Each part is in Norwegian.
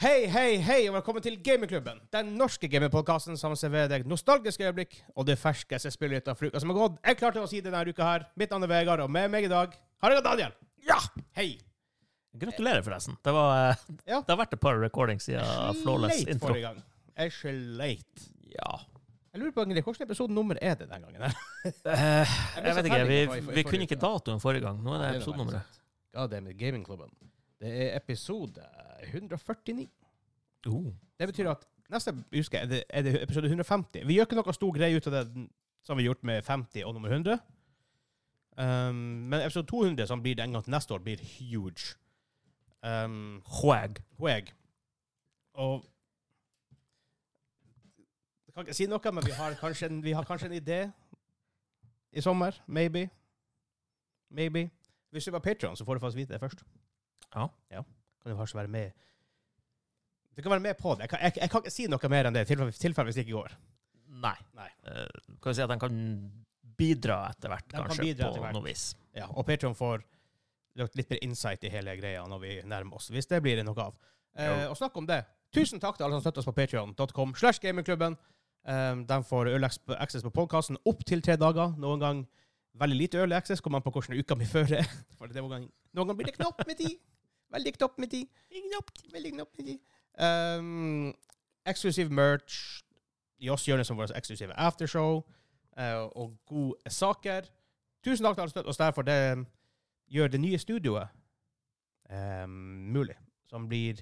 Hei, hei, hei, og velkommen til Gamingklubben. Den norske gamingpodkasten som serverer deg nostalgiske øyeblikk og det ferskeste spillnytta for uka som har gått. Jeg klarte å si det denne uka her. Mitt navn er Vegard, og med meg i dag har jeg Daniel. Ja! Hei. Gratulerer, forresten. Det, var, eh, Ja. det har vært et par recordings siden Ah, Flawless Sleit intro. forrige gang. Jeg sleit. Ja. Jeg lurer på egentlig, Hvilken episode nummer er det den gangen? her? Eh, jeg vet Jeg ble så ikke. Vi, ferdig i forrige- vi forrige kunne ikke uke. datoen forrige gang. Nå er det Nei, det var episodenummeret. God damn it, Gamingklubben. Det er episode 149. Oh. Det betyr at neste uke er det, er det episode 150. Vi gjør ikke noe stor greie ut av det som vi har gjort med 50 og nummer 100. Um, men episode 200, som blir det en gang til neste år, blir huge. Um, Hwag. Hweg. Og Jeg kan ikke si noe, men vi har kanskje en, vi har kanskje en idé i sommer. Maybe. Maybe. Hvis du er Patreon, så får du faktisk vite det først. Ja. Kan du kanskje være med Du kan være med på det. Jeg kan, jeg, jeg kan ikke si noe mer enn det, i tilfelle tilfelle hvis det ikke går. Nei. Nei. Eh, kan vi si at den kan bidra etter hvert, Den kan kanskje, bidra på etter hvert. noe vis. Ja, og Patreon får litt litt mer insight i hele greia når vi nærmer oss, hvis det blir det noe av. Eh, Jo. og snakk om det. Tusen takk til alle som støtter oss på patreon.com slash gamingklubben. Um, de får øl access på podkasten opptil tre dager. Noen gang veldig lite øl access, kommer an på hvordan uka mi fører. For det er noen, gang, noen gang blir det knapt med tid. Veldig knapt med tid. Knapt, veldig knapt med tid. Um, eksklusiv merch. Gi oss hjørnet som vårt eksklusive aftershow. eh, og gode saker. Tusen takk til alle som støtter oss der, for det gjør det nye studioet eh, mulig. Som blir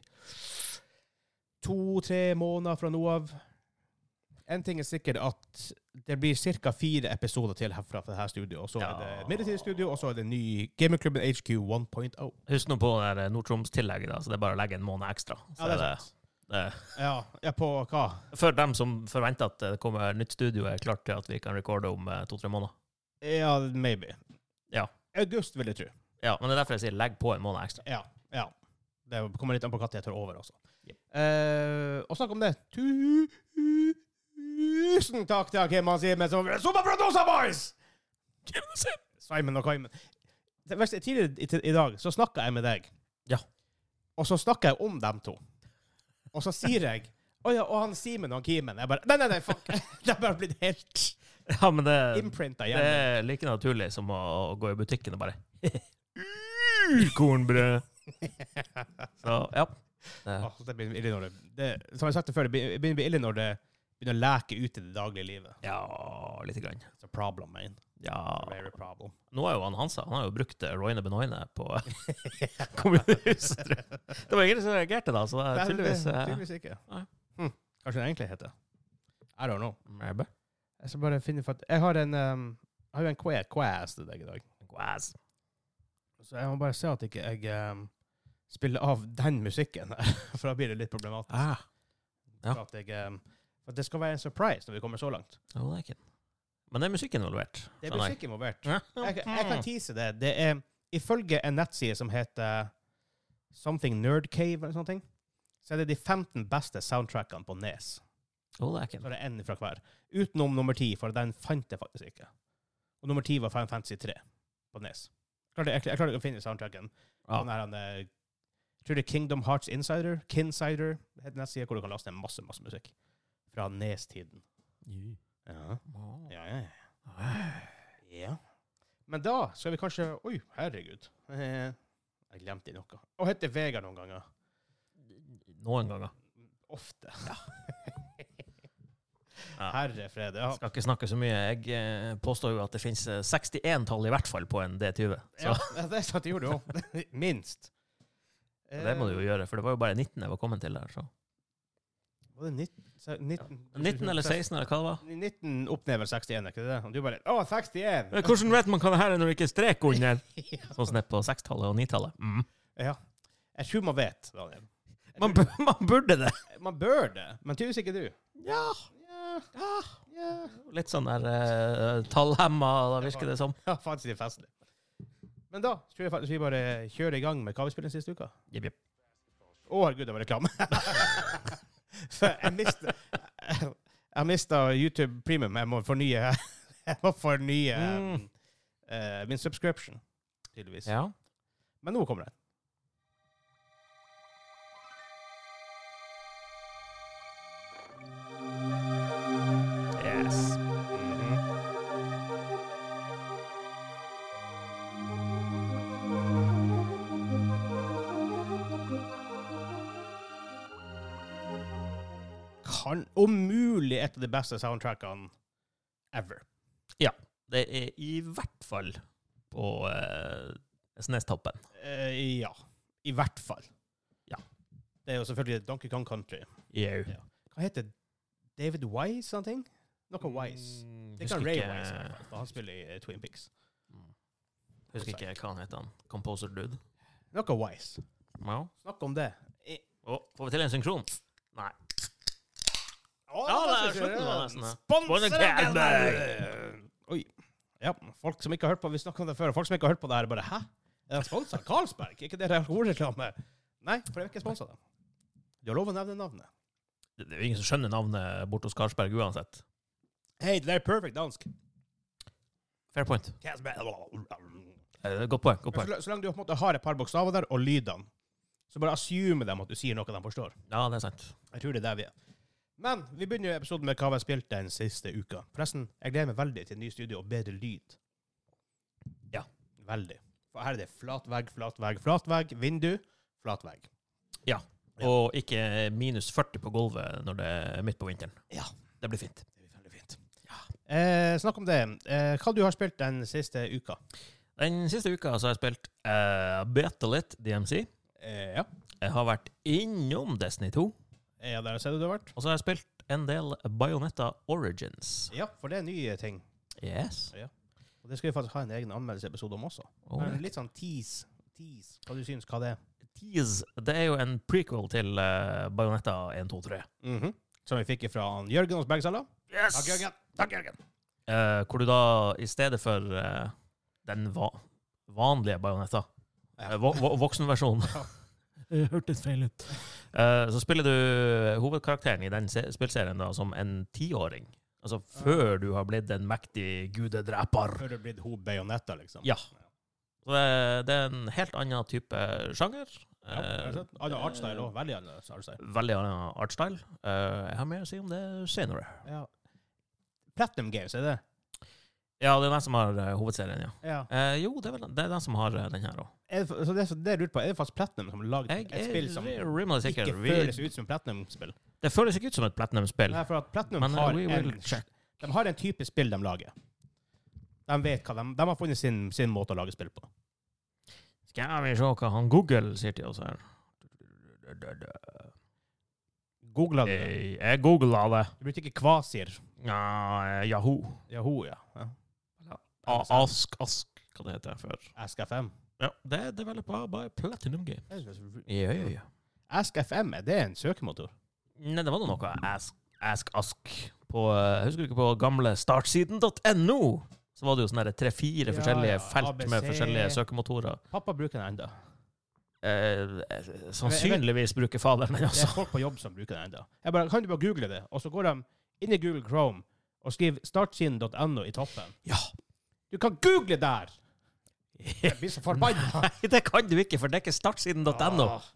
to-tre måneder fra nå av. En ting er sikkert at det blir ca. fire episoder til herfra fra dette studioet. Og så er det Ja. et midlertidig studio, og så er det ny Gamerklubben HQ 1.0. Husk nå på det der eh, Nord-Troms-tillegget, da, så det er bare å legge en måned ekstra. Så Ja, det er er sant. det- Ja, ja, på hva? eh, for dem som forventer at det kommer nytt studio, er klart til at vi kan recorde om eh, to-tre måneder. Ja, maybe. Ja. August, vil jeg tro. Ja, men det er derfor jeg sier legg på en måned ekstra. Ja. ja. Det kommer litt an på når jeg tar over, altså. Jep. Eh, og snakk om det. Tusen takk til Kim han sier med som Superproducer Boys! Simon og Kaimen. Det verste er, Tidligere i, i dag så snakka jeg med deg. Ja. Og så snakka jeg om dem to. Og så sier jeg Å ja, og han Simen og han Kimen. Jeg bare Nei, nei, nei, fuck. Det er bare blitt helt Ja, men det, imprinta Det igjen. er like naturlig som å, å gå i butikken og bare «Mm, Kornbrød! Så ja. Det, Åh, det blir ille når det, det Som jeg har sagt det før, det blir- det begynner å bli ille når det begynner å leke ut i det daglige livet. ja, lite grann. It's a problem, man. Ja. Very problem. Nå er jo han Hansa Han har jo brukt eh, Roine Benoine på kommunehuset. tror jeg. Det var ingen som reagerte da, så det Nei, er tydeligvis det- eh, tydeligvis ikke. nei. Hm. Kanskje det egentlig heter I don't know. maybe. Jeg skal bare finne for at Jeg har en um, Jeg har jo en que- quest til deg i dag. Guas. Så jeg må bare se at ikke jeg um, spiller av den musikken her, for da blir det litt problematisk. Ah. ja. For at jeg, um, for at det skal være en surprise når vi kommer så langt. Jo, det er ikke den. Men det er musikk involvert. Det er skjønner musikk involvert. jeg. Jeg, kan- jeg kan tease det. Det er ifølge en nettside som heter Something Nerd Cave eller sånne ting, så er det de 15 beste soundtrackene på Nes. Jo, det er ikke Så den. er det én fra hver. Utenom nummer ti, for den fant jeg faktisk ikke. Og nummer ti var Final Fantasy 3 på Nes. Klarte, jeg, jeg klarte ikke å finne soundtracken. Ja. Den her, han, eh, jeg tror det er Kingdom Hearts Insider, Kinsider, heter nettsida, hvor du kan laste ned masse masse musikk. Fra Nes-tiden. Ja. Ja, ja, ja. ja. Men da skal vi kanskje Oi, herregud. Eh, Jeg glemte noe. Å hete Vegard noen ganger. Noen ganger. Ofte. Ja. Herre frede. Ja. Skal ikke snakke så mye. Jeg eh, påstår jo at det finnes eh, 61 tall i hvert fall på en D20. Så Ja, det er sant, det gjorde du òg. Minst. Eh, det må du jo gjøre, for det var jo bare 19 jeg var kommet til der. Så. Var det 19, se- 19, 19 eller 16 eller hva det var. 19 opp ned vel 61, er ikke det det? Og du bare Å, 61! Hvordan vet man hva det her er når det ikke er strek under? Sånn som det er på 6-tallet og 9-tallet. Mm. Ja. Jeg tror man vet, Daniel. Man, bu- man burde det. Man bør det, men tydeligvis ikke du. Ja. Ah. Ja, ja. Litt sånn der eh, tallhemma, da virker det som. ja faktisk litt festlig. Men da tror jeg faktisk vi bare kjører i gang med hva vi spilte den siste uka. Jep, jep. Å, herregud, det var reklame. For jeg mista Jeg mista YouTube Premium. Jeg må fornye Jeg må fornye Mm. eh, min subscription, tydeligvis. Ja. Men nå kommer den. Yes. Kan om mulig et av de beste soundtrackene ever. Det er i hvert fall på eh, Snestoppen. Eh, ja. I hvert fall. Ja. Det er jo selvfølgelig Donkey Kong Country. Jau. Ja. Hva heter det? David Wise, han ting? Noe Wise. Det kan Ray eh, Wise, i hvert fall, for han spiller i eh, Twin Peaks. Husker ikke hva han heter, han. Composer Dude. Noe Wise. Ja. Snakk om det. I- Å, får vi til en synkron? Nei. Å, Ja, det er synes jeg slutten det. av nesten, ja. Sponset Sponsor av Cadbury! Cadbury! Oi. Ja, folk som ikke har hørt på Vi snakket om det før. og Folk som ikke har hørt på det her, bare Hæ? Er de sponsa? Carlsberg? Er ikke det alkoholreklame? Nei, for jeg er ikke sponsa dem. Du har lov å nevne navnet. Det det er jo ingen som skjønner navnet borte hos Karlsberg uansett. Hei, det der er perfect dansk. Fair point. Casberg. Eh, Godt poeng. godt Men poeng. Så, så lenge du på en måte har et par bokstaver der, og lydene, så bare assume dem at du sier noe de forstår. Ja, det er sant. Jeg tror det er der vi er. Men vi begynner jo episoden med hva vi har spilt den siste uka. Forresten, jeg gleder meg veldig til ny studio og bedre lyd. Ja. Veldig. For her er det flat vegg, flat vegg, flat vegg, vindu, flat vegg. Ja. Og ikke minus 40 på gulvet når det er midt på vinteren. Ja. Det blir fint. Det blir veldig fint. Eh, snakk om det. Eh, hva du har spilt den siste uka? Den siste uka så har jeg spilt uh, Betalit DMC. Eh, ja. Jeg har vært innom Destiny 2. Og ja, der ser du det har vært. så har jeg spilt en del Bayonetta Origins. Ja, for det er nye ting. Yes. Og det skal vi faktisk ha en egen anmeldelseepisode om også. Og Men litt sånn tease. Tease. Hva du syns, hva det er. Tease, det er jo en prequel til eh, Bayonetta 1, 2, 3. Som vi fikk fra han Jørgen hos Bergsala. Mhm. Yes! Takk, Jørgen. Takk, Jørgen. Eh, hvor du da, i stedet for eh, den va vanlige Bayonetta, Ja. eh, vo vo voksenversjonen Ja. Hørtes feil ut. Eh, så spiller du hovedkarakteren i den se- spillserien da som en tiåring. Altså før du har blitt en mektig gudedreper. Før det blitt hun bajonetta, liksom. Ja. Så det, det er en helt annen type sjanger. Ja, Eh, jeg har sett. Annen artstyle òg. Veldig annerledes artstyle. veldig annen artstyle. Eh, jeg har mer å si om det senere. Ja. Platinum Games, er det? Ja, det er den som har eh, hovedserien, ja. Ja. Eh, jo, det er, vel, det er den som har eh, den her òg. Er det, så det, så det jeg lurer på, er det faktisk Platinum som har lagd Jeg et er spill som ikke rimelig sikker. Vi, føles ut som Platinum-spill? det føles ikke ut som et platinum-spill, Nei, for at Platinum men eh, har we will en, check. de har en type spill de lager. De vet hva de, de har funnet sin, sin måte å lage spill på. Skal vi se hva han Google sier til oss her. Googla du det? Jeg, jeg googla det. Du brukte ikke Kvasir? Ja, eh, Yahoo. Yahoo, ja. ja. A- Ask, Ask, hva det heter før. Ask.fm. Ja, det er developa by Platinum Game. Ja, ja, ja. Ask.fm, er det en søkemotor? Nei, det var nå noe Ask, Ask, Ask på eh, Husker du ikke på gamle startsiden.no? Så var det jo sånn sånne tre-fire Ja, forskjellige ja, felt med ABC. forskjellige søkemotorer. Pappa bruker den enda. Eh, eh, sannsynligvis bruker faderen den Det også. er folk på jobb som bruker den enda. Jeg bare, kan du bare google det? Og så går de inn i Google Chrome og skriver startsiden.no i toppen. Ja. Du kan google der! Jeg blir så forbanna. Nei, det kan du ikke, for det er ikke startsiden.no. Ah,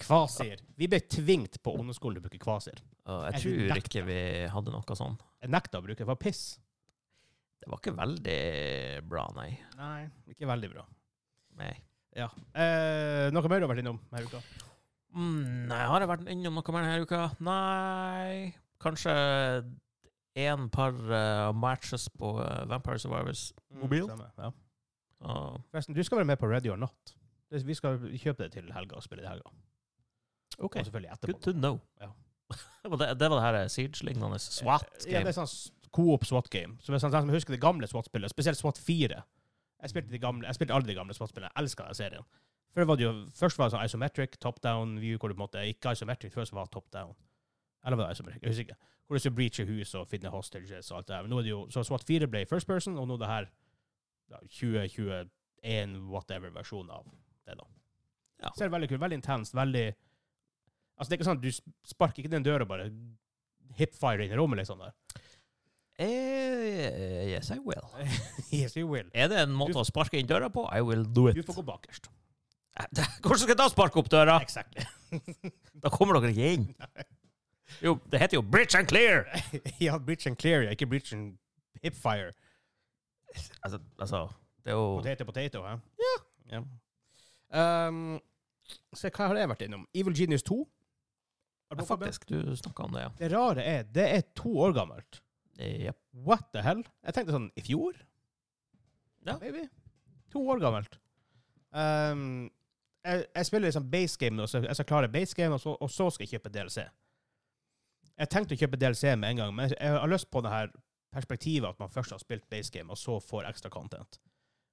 Kvasir. Vi ble tvingt på ungdomsskolen til å bruke kvasir. Og jeg Jeg tror nekter. ikke vi hadde noe sånn. Jeg nekta å bruke det, det var piss. Det var ikke veldig bra, nei. Nei, ikke veldig bra. Nei. Ja. Eh, noe mer du har vært innom denne uka? Mm, nei, har jeg vært innom noe mer denne uka? Nei. Kanskje en par eh, matches på eh, Vampire Survivors. Mobil? Stemmer, ja. Og- Forresten, du skal være med på Ready or Not. Det- Vi skal kjøpe det til helga og spille det i helga. Og selvfølgelig etterpå. Good to know. Ja. det, var det, det var det her eh, Siege-lignende SWAT Ja, game. det er sånn s- Coop SWAT-game. Som er sånn, sånn som jeg husker det gamle SWAT-spillet, spesielt SWAT 4. Jeg spilte, de gamle, jeg spilte aldri de gamle SWAT-spillene. Jeg elsker den serien. Før var det jo, først var det sånn isometric, top down view, hvor du på en måte ikke isometric, før så var det top down. Eller var det isometric? Jeg husker ikke. Hvor du skulle breache hus og finne hostages og alt det der. Men nå er det jo, så SWAT 4 ble first person, og nå er det her ja, 2021 whatever-versjon av det da. Ja. Ser veldig kult, veldig intenst, veldig... Altså det er ikke sånn at du sp- sparker ikke den døra og bare hipfire inn i rommet liksom der. Eh, yes, I will. Yes, you will. Er det en måte å sparke inn døra på? I will do it. Du får gå bakerst. Hvordan skal jeg da sparke opp døra? Exactly. Da kommer dere ikke inn. Jo, det heter jo Bridge and Clear! ja, Breach and Clear, ja. Ikke Breach and Hipfire. Altså, altså det er jo Potet er potet, hæ? Ja. ja. Ehm, se, hva har jeg vært innom? Evil Genius 2. Har du ja, plukket opp det? Faktisk, du snakka om det, ja. Det rare er, det er to år gammelt. Eh, Jep. What the hell? Jeg tenkte sånn, i fjor? Ja. Maybe. To år gammelt. Ehm, jeg, jeg spiller liksom base game nå, så jeg skal klare base game, og så, og så skal jeg kjøpe DLC. Jeg tenkte å kjøpe DLC med en gang, men jeg har lyst på det her perspektivet at man først har spilt base game, og så får ekstra content.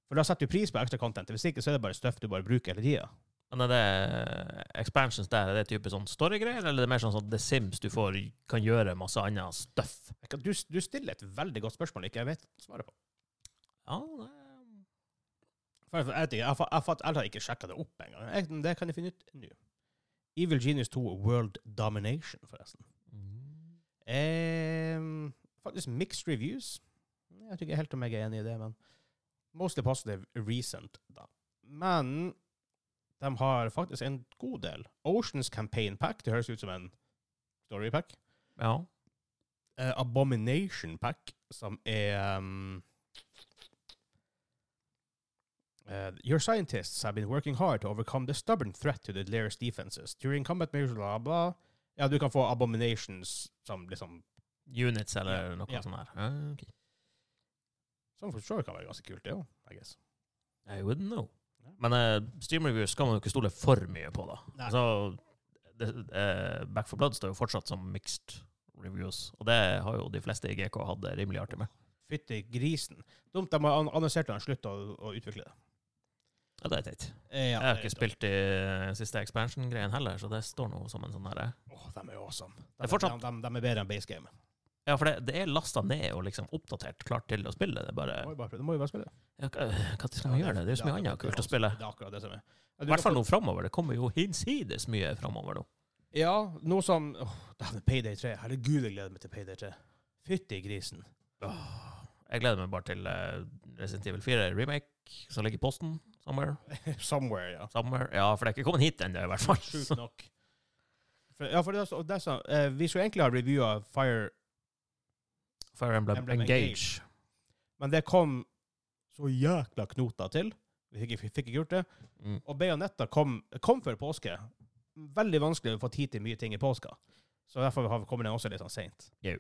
For da setter du pris på ekstra content. Hvis ikke, så er det bare støff du bare bruker hele tida. Men er det expansions der, er det type sånn storygreier, eller er det mer sånn som The Sims, du får, kan gjøre masse annet stuff? Du, du stiller et veldig godt spørsmål ikke jeg vet svaret på. Ja, det- For jeg, vet ikke, jeg, har fa- jeg, har fatt- jeg har ikke sjekka det opp engang. Jeg- Det kan jeg finne ut nå. Evil Genius 2 World Domination, forresten. Ehm, faktisk mixed reviews. Jeg tror ikke helt om jeg er enig i det, men mostly positive recent, da. Men de har faktisk en god del. Oceans Campaign Pack, det høres ut som en story pack. ja. Eh, Abomination Pack, som er um, eh, Your scientists have been working hard to overcome the stubborn threat to the Lairs defenses. During combat measures, bla, bla. Ja, du kan få abominations som liksom Units eller Ja, noe ja. sånt der. Ja, ok. Som for så vidt kan være ganske kult, det òg, I guess. I wouldn't know. Ja. Men eh, stream reviews skal man jo ikke stole for mye på, da. Nei. Altså, det, eh, Back for Blood står jo fortsatt som mixed reviews, og det har jo de fleste i GK hatt det rimelig artig med. Fytti grisen. Dumt de har an- annonsert at de slutter å, å utvikle det. Ja, det er teit. Eh, ja, Jeg har det er ikke dumt. spilt i eh, siste expansion-greien heller, så det står nå som en sånn herre Åh, de er awesome. De, er fortsatt- de, de, de er bedre enn base game. Ja, for det, det er lasta ned og liksom oppdatert, klart til å spille. Det er bare Du må jo bare, du må jo bare spille det. ja, hva- Hva skal man Ja, gjøre det? Det er jo så mye akkurat annet det kult å som- spille. Det er akkurat det som er. I hvert fall nå framover. Det kommer jo hinsides mye framover nå. Ja, nå som Åh, dæven, Payday 3. Herregud, jeg gleder meg til Payday 3. Fytti grisen. Jeg gleder meg bare til eh, Resident Evil 4 remake som ligger i posten somewhere. Somewhere, ja. somewhere. Ja, for det er ikke kommet hit ennå, i hvert fall. Sjukt nok. For, ja, for det er så, det er så eh, Vi skulle egentlig ha reviewa Fire, Fire Emblem, Emblem Engage. men det kom så jækla knota til. Vi fikk, vi fikk ikke gjort det. Mm. Og Bayonetta kom, kom før påske. Veldig vanskelig å få tid til mye ting i påska. Så derfor har- kommer den også litt sånn seint. Jau.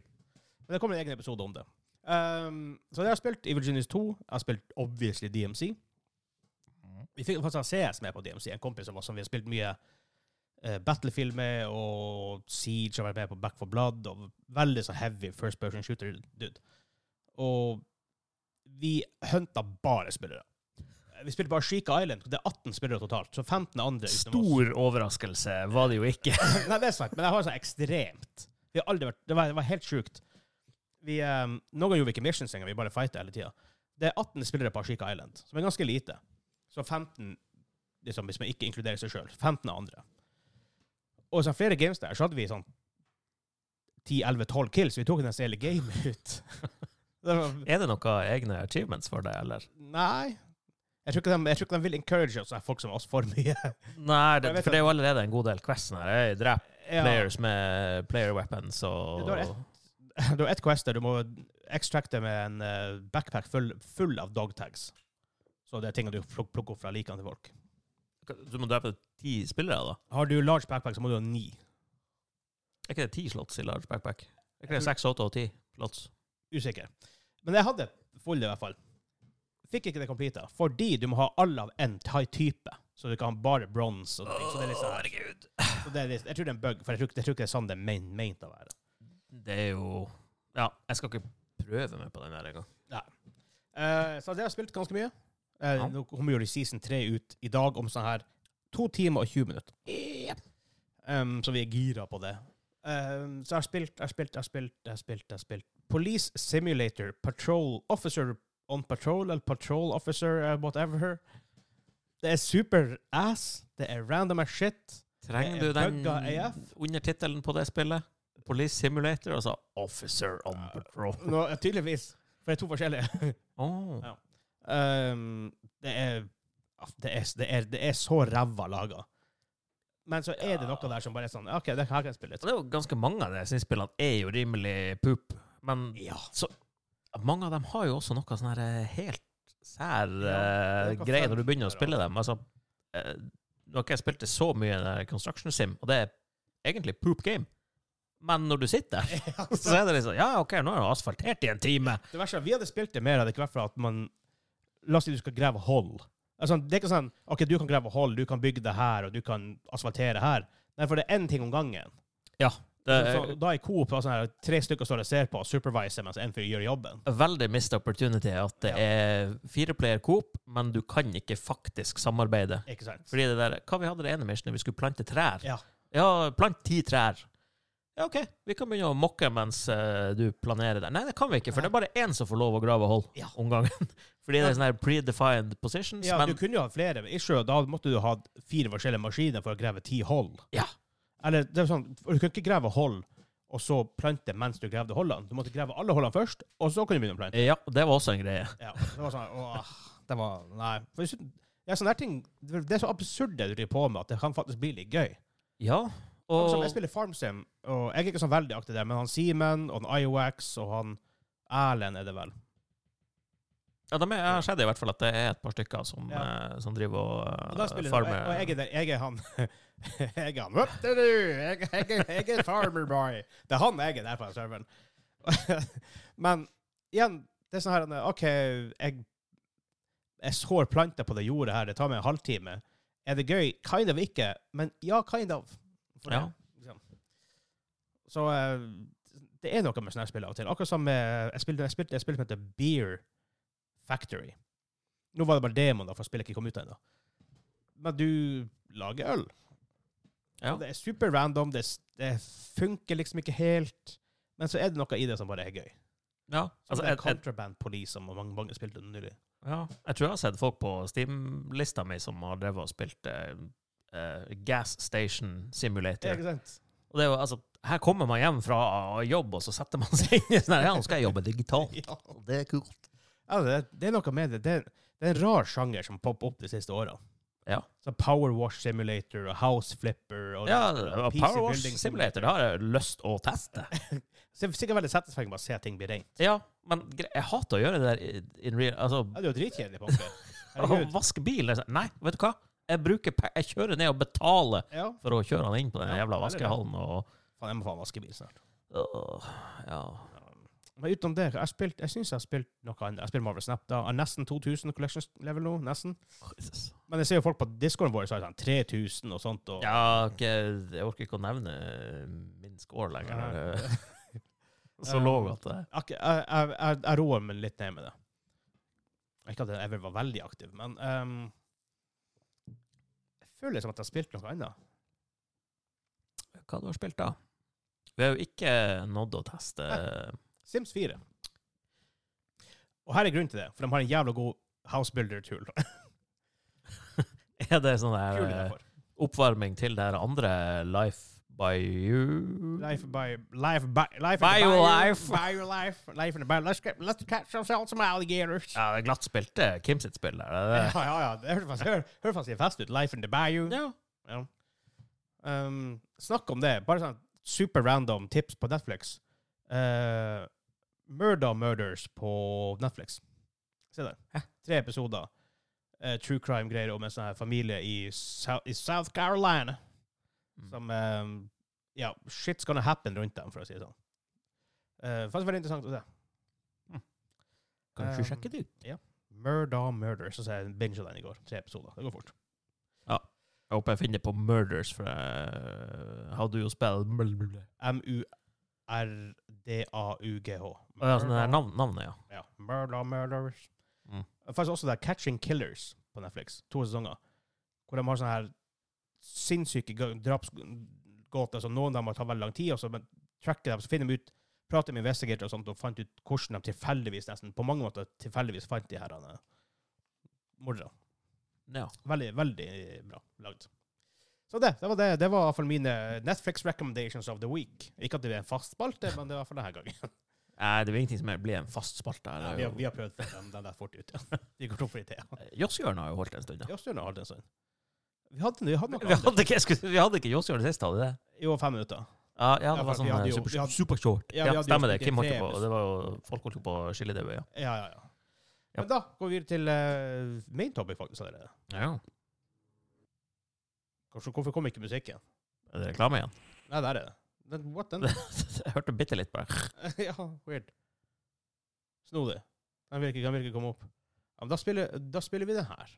Men det kommer en egen episode om det. Ehm, så jeg har spilt Evil Genius 2. Jeg har spilt obviously DMC. Vi fikk faktisk ha CS med på DMC, en kompis av oss som vi har spilt mye eh, Battlefield med, og Siege har vært med på Back for Blood, og veldig så heavy first person shooter dude. Og vi hunta bare spillere. Vi spilte bare Sheika Island. Det er 18 spillere totalt, så 15 andre utenom oss. Stor overraskelse var det jo ikke. altså. Nei, det er sant, men det har så ekstremt. Vi har aldri vært, det, var, det var helt sjukt. Vi, eh, noen ganger gjorde vi ikke missions engang, vi bare fighta hele tida. Det er 18 spillere på Ashika Island, som er ganske lite. Så 15, liksom, hvis man ikke inkluderer seg sjøl, 15 av andre. Og så flere games der, så hadde vi sånn 10-11-12 kills. Vi tok nesten hele gamet ut. Det var, Er det noen egne achievements for det, eller? nei. Jeg tror, ikke de, jeg tror ikke de vil encourage oss, folk som oss, for mye. Nei, det, Jeg vet for det er jo allerede en god del quests her. Jeg dreper Ja. players med player weapons og Du har ett. Du har ett quest der du må extracte med en eh, backpack full, full av dogtags. Så det er ting du pluk- plukker opp fra likene til folk. Du må drepe ti spillere, da. Har du large backpack, så må du ha ni. Er ikke det ti slots i large backpack? Er ikke Jeg det tror- seks, åtte og ti slots? Usikker. Men jeg hadde full i hvert fall. Fikk ikke det completa, fordi du må ha alle av en ty- type. Så du kan ha bare bronse og ting. Så det er litt sånn her. herregud. Så det er litt, jeg tror det er en bug, for jeg tror, ikke- jeg tror ikke det er sånn det er main- meint å være. Det er jo Ja, jeg skal ikke prøve meg på den der engang. Eh, så det har jeg spilt ganske mye. Eh, Ja. Nå kommer jo season 3 ut i dag om sånn her to timer og 20 minutter. Um, så vi er gira på det. Um, så jeg har spilt, jeg har spilt, jeg har spilt, jeg har spilt, jeg har spilt. Police Simulator, Patrol Officer on Patrol, eller Patrol Officer, eh, whatever. Det er super ass. Det er random as shit. Trenger Det du er den bugga AF. under tittelen på det spillet? Police Simulator, altså Officer on Ja. Patrol. Nå, eh, tydeligvis. For det er to forskjellige. Åh. Ja. Ehm, ah, Um, det, er, det, er, det, er, det er så ræva laga. Men så er det noe der som bare er sånn OK, det her kan jeg spille Og litt. det er jo ganske mange av disse innspillene er jo rimelig poop. Men Ja. mange av dem har jo også noe sånn her eh, helt sær Ja, det eh, er noe greie når fun du begynner å der, spille dem. Altså, eh, nå har ikke jeg spilt det så mye i den der Construction Sim, og det er egentlig poop game. Men når du sitter der, så er det liksom Ja, OK, nå er det asfaltert i en time. Det verste er at vi hadde spilt det mer hadde det ikke vært for at man La oss si du skal grave hull. Altså, det er ikke sånn OK, du kan grave hull, du kan bygge det her, og du kan asfaltere her. Nei, for det er én ting om gangen. Det Så, er da i Coop var sånn her, tre stykker står og ser på og superviser mens én fyr gjør jobben. veldig missed opportunity at det Ja. er fireplayer coop, men du kan ikke faktisk samarbeide. Ikke sant? Fordi det der, Hva vi hadde det ene missionet? Vi skulle plante trær. Ja. Ja, plant ti trær. Ja, OK, vi kan begynne å mokke mens eh, du planerer der. Nei, det kan vi ikke, for det er bare én som får lov å grave hull Ja. om gangen. Fordi det er sånne her predefined positions. Ja, men du kunne jo ha flere. men Ikke, da måtte du ha fire forskjellige maskiner for å grave ti hull. Ja. Eller det er sånn, for du kunne ikke grave hull og så plante mens du gravde hullene. Du måtte grave alle hullene først, og så kunne du begynne å plante. ja, det var også en greie. Ja, det var sånn, åh, det var, nei. For jeg synes- ja, sånne her ting, det er så absurd det du driver på med, at det kan faktisk bli litt gøy. Ja, For eksempel, og Jeg spiller FarmSim, og jeg er ikke så veldig aktiv der, men han Simen, og han IOX, og han Erlend er det vel. ja, de er, jeg har sett i hvert fall at det er et par stykker som, eh, som driver og, eh, Og da spiller jeg, farmer. og jeg er der, jeg er han Jeg er han Whoop, det er du! Jeg, jeg, jeg, jeg er farmer boy! Det er han jeg er der på den serveren. Men igjen, det er sånn her OK, jeg, jeg sår planter på det jordet her, det tar meg en halvtime. Er det gøy? Kind of ikke, men ja, kind of. For det, Ja. liksom. Så eh, det er noe med sånne her spill av og til. Akkurat som med Jeg spilte jeg spilte- jeg spilte et spill som heter Beer Factory. Nå var det bare demoen, da, for spillet ikke kom ut ennå. Men du lager øl. Ja. Og Det er super random, det, s- det funker liksom ikke helt. Men så er det noe i det som bare er gøy. ja, Som altså, det er jeg, jeg, Contraband Police, som mange, mange spilte nylig. Ja, jeg tror jeg har sett folk på Steam-lista mi som har drevet og spilt eh, eh, Gas Station Simulator. Ikke sant? Og det er jo, altså, her kommer man hjem fra jobb, og så setter man seg inn i sånn her, ja, nå skal jeg jobbe digitalt. Ja. Det er kult. Ja, det, det er noe med det. Det er, det er en rar sjanger som popper opp de siste årene. Ja. Så Power Wash Simulator og House Flipper og Ja, og PC Power Wash Building Simulator, det har jeg lyst å teste. Så det er sikkert veldig satisfying bare å se at ting blir rent. Ja, men gre- jeg hater å gjøre det der i- in real, altså, Ja, det er jo dritkjedelig, Pompe. å Herregud. vaske bil. liksom. Nei, vet du hva? Jeg bruker, pe- jeg kjører ned og betaler Ja. for å kjøre han inn på den Ja, det jævla er det. vaskehallen, og, Faen, jeg må faen vaske bil snart. Åh, ja. Men utenom det, jeg, har spilt, jeg syns jeg har spilt noe annet. Jeg spiller Marvel Snap. Da. Jeg har nesten 2000 collection level nå. Nesten. Jesus. Men jeg ser jo folk på discoren vår som har sånn 3000 og sånt. Og, Ja, ok, jeg orker ikke å nevne eh, min score lenger. når det- Så låg at det Ak- Jeg, jeg, jeg, jeg roer meg litt ned med det. Ikke at jeg ever var veldig aktiv, men ehm, Jeg føler som at jeg har spilt noe annet. Eh, Hva du har spilt da? Vi har jo ikke nådd å teste eh, Sims 4. Og her er grunnen til det, for de har en jævla god housebuilder-tool. Er det sånn Kul der eh, derfor. oppvarming til det her andre Life by You? Life by Life by Life in the By bayou, your life. By your life. Life in the bio. Let's, get, let's catch ourselves some alligators. Ja, det er glatt spilte Kim sitt spill der. Ja, er det det? ja, ja. Det høres faktisk, hør, høres faktisk fest ut. Life in the bayou. Ja. Ja. Um, snakk om det. Bare sånn super random tips på Netflix. Eh, Murder Murders på Netflix. Se der. Tre episoder. Eh, true crime-greier om en sånn her familie i, Sou- i South Carolina. Som eh, Ja, shit's gonna happen rundt dem, for å si det sånn. Uh, faktisk veldig interessant å se. Kanskje Eh. sjekke det ut. Murder Murders. Så sa jeg binge den i går. Tre episoder. Det går fort. Jeg håper jeg finner på Murders, for jeg hadde jo spilt Å M-U-R-D-A-U-G-H. ja, sånn der navn, navnet, ja. Ja. Murder Murders. Mm. Faktisk også det er Catching Killers på Netflix. To sesonger. Hvor de har sånne her sinnssyke ga- drapsgåter som noen av dem har tatt veldig lang tid, og så men, tracker dem, så finner de ut Prater med investigator og sånt, og fant ut hvordan de tilfeldigvis nesten, på mange måter tilfeldigvis fant de her eh, morderne. ja. Veldig, veldig bra lagd. Så det, det var det. Det var i hvert fall mine Netflix recommendations of the week. Ikke at det er en fast spalte, men det var i hvert fall denne gangen. Nei, det er jo ingenting som blir en fast spalte. her. vi, har, vi har prøvd for den, den der fort ut. Vi går tom for ideer. Jåsshjørnet har jo holdt en stund, ja. Ja, Stjørna har hatt en stund. Vi hadde, vi hadde noe Vi annet. hadde ikke, jeg skulle- vi hadde ikke Jåsjord sist, hadde vi det? Jo, fem minutter. Ja, ja det Ja, var for sånn vi hadde eh, jo- super, vi hadde- super short. Ja, vi Ja, hadde jo stemmer det. spilt i Kim holdt jo tre på, det var jo, folk holdt jo på å skille det. Ja, Ja. ja, ja. Ja. Men da går vi videre til eh, main topic, faktisk. allerede. ja. Kanskje, hvorfor kom ikke musikken? Er det reklame igjen? Nei, der er det. Den, what den? jeg hørte bitte litt bare. ja, weird. Snodig. Den vil ikke, den vil ikke komme opp. Ja, men da spiller, da spiller vi den her.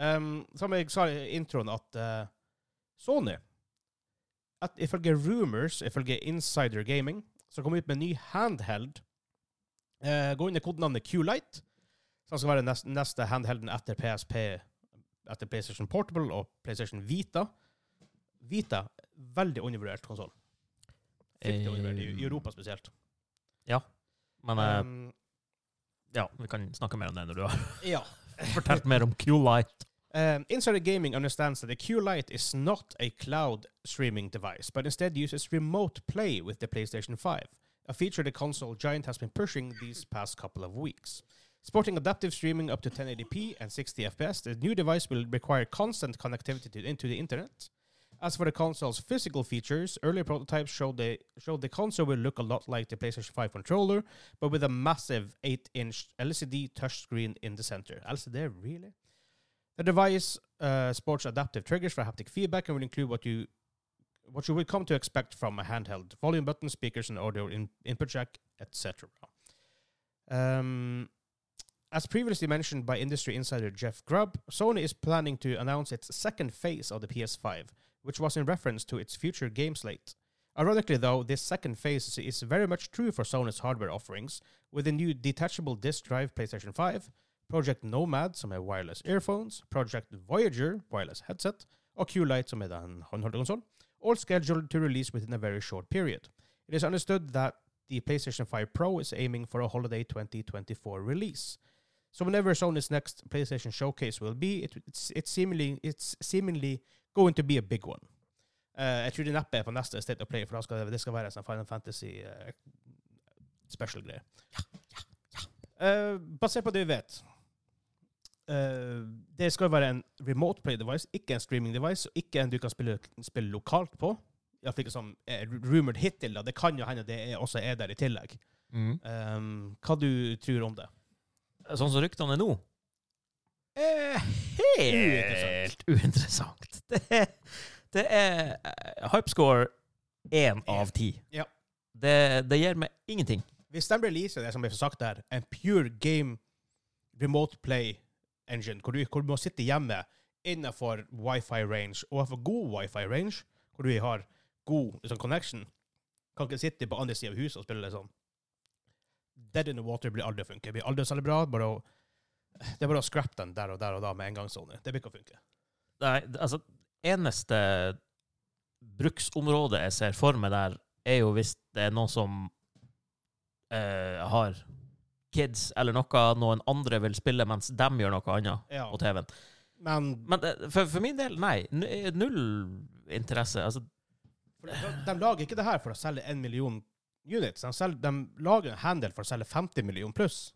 Ehm, som jeg sa i introen, at eh, Sony at Ifølge rumors, ifølge Insider Gaming, så kommer ut med en ny handheld. Eh, gå inn i kodenavnet Q-Light, som skal være neste, neste handhelden etter PSP, etter PlayStation Portable og PlayStation Vita. Vita, veldig undervurdert konsoll. Fryktelig undervurdert, i- i Europa spesielt. Men eh, Ehm, ja, vi kan snakke mer om det når du har ja. fortalt mer om Q-Light. Um, Insider Gaming understands that the Q-Lite is not a cloud streaming device, but instead uses remote play with the PlayStation 5, a feature the console giant has been pushing these past couple of weeks. Sporting adaptive streaming up to 1080p and 60 FPS, the new device will require constant connectivity to, into the internet. As for the console's physical features, earlier prototypes showed the, showed the console will look a lot like the PlayStation 5 controller, but with a massive 8-inch LCD touchscreen in the center. LCD, really? The device uh, sports adaptive triggers for haptic feedback and will include what you what you will come to expect from a handheld volume button, speakers, and audio in, input jack, etc. Um, as previously mentioned by industry insider Jeff Grubb, Sony is planning to announce its second phase of the PS5, which was in reference to its future game slate. Ironically, though, this second phase is very much true for Sony's hardware offerings, with the new detachable disk drive PlayStation 5, Project Nomad, som er wireless earphones, Project Voyager, wireless headset, og Q-Lite, som er den håndholdte konsollen, all scheduled to release within a very short period. It is understood that the PlayStation 5 Pro is aiming for a holiday 2024 release. So whenever Sony's next PlayStation showcase will be, it, it's, it's, seemingly, it's seemingly going to be a big one. Eh, jeg tror det neppe er på neste State of Play, for da skal det, det skal være en sånn Final Fantasy eh, special-greie. Eh, basert på det vi vet, Eh, det skal jo være en remote play device, ikke en streaming device, og ikke en du kan spille, spille lokalt på. Iallfall ikke som er rumored hittil. da. Det kan jo hende det er, også er der i tillegg. Um, hva du tror om det? Sånn som ryktene er nå er helt uinteressant. Det er, det er eh, hypescore én av ti. Ja. Det, det gir meg ingenting. Hvis de releaser det som blir sagt der, en pure game remote play engine, hvor du, hvor du må sitte hjemme innenfor wifi range, og for god wifi range, hvor du har god liksom, connection, kan ikke sitte på andre siden av huset og spille det sånn. Dead in the water blir aldri å funke. Det blir aldri å selge bra. Bare å, det er bare å scrappe den der og der og da med en gang, Sony. Det blir ikke å funke. Nei, det- altså, eneste bruksområdet jeg ser for meg der, er jo hvis det er noen som eh, har kids eller noe, noen andre vil spille mens dem gjør noe annet Ja. på TV-en. Men Men eh, for, for min del, nei. N- Null interesse. Altså, for de, de lager ikke det her for å selge en million units. De, selger, de lager en handel for å selge 50 million pluss.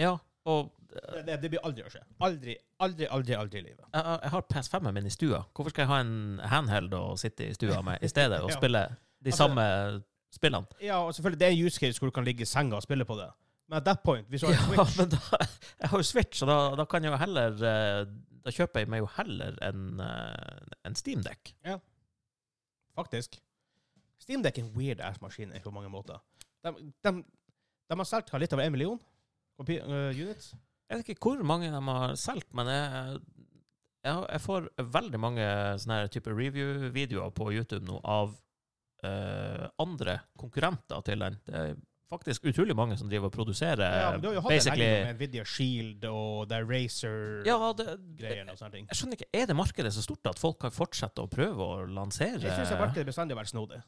ja. Og eh, Det, det, det blir aldri å skje. Aldri, aldri, aldri aldri i livet. jeg, jeg har PS5-en min i stua. Hvorfor skal jeg ha en handheld å sitte i stua med i stedet og Ja. spille de Altså- samme spillene? Ja, og selvfølgelig, det er en use case hvor du kan ligge i senga og spille på det. Men at that point, hvis du har en Ja, Switch men da, jeg har jo Switch, og da, da kan jeg jo heller eh, Da kjøper jeg meg jo heller en, eh, en Steamdeck. Faktisk. Steam Deck er en weird ass-maskin på mange måter. De, de, de har solgt hva, litt over én million kopi, øh, units. Jeg vet ikke hvor mange de har solgt, men jeg, jeg, har- jeg får veldig mange sånne her type review-videoer på YouTube nå av eh, andre konkurrenter til den. Det er faktisk utrolig mange som driver og produserer Ja, men du har jo hatt en basically lenge med Nvidia Shield og The Racer-greiene Ja, det, det, og sånne ting. jeg skjønner ikke, er det markedet så stort at folk kan fortsette å prøve å lansere Jeg syns markedet bestandig har vært snodig.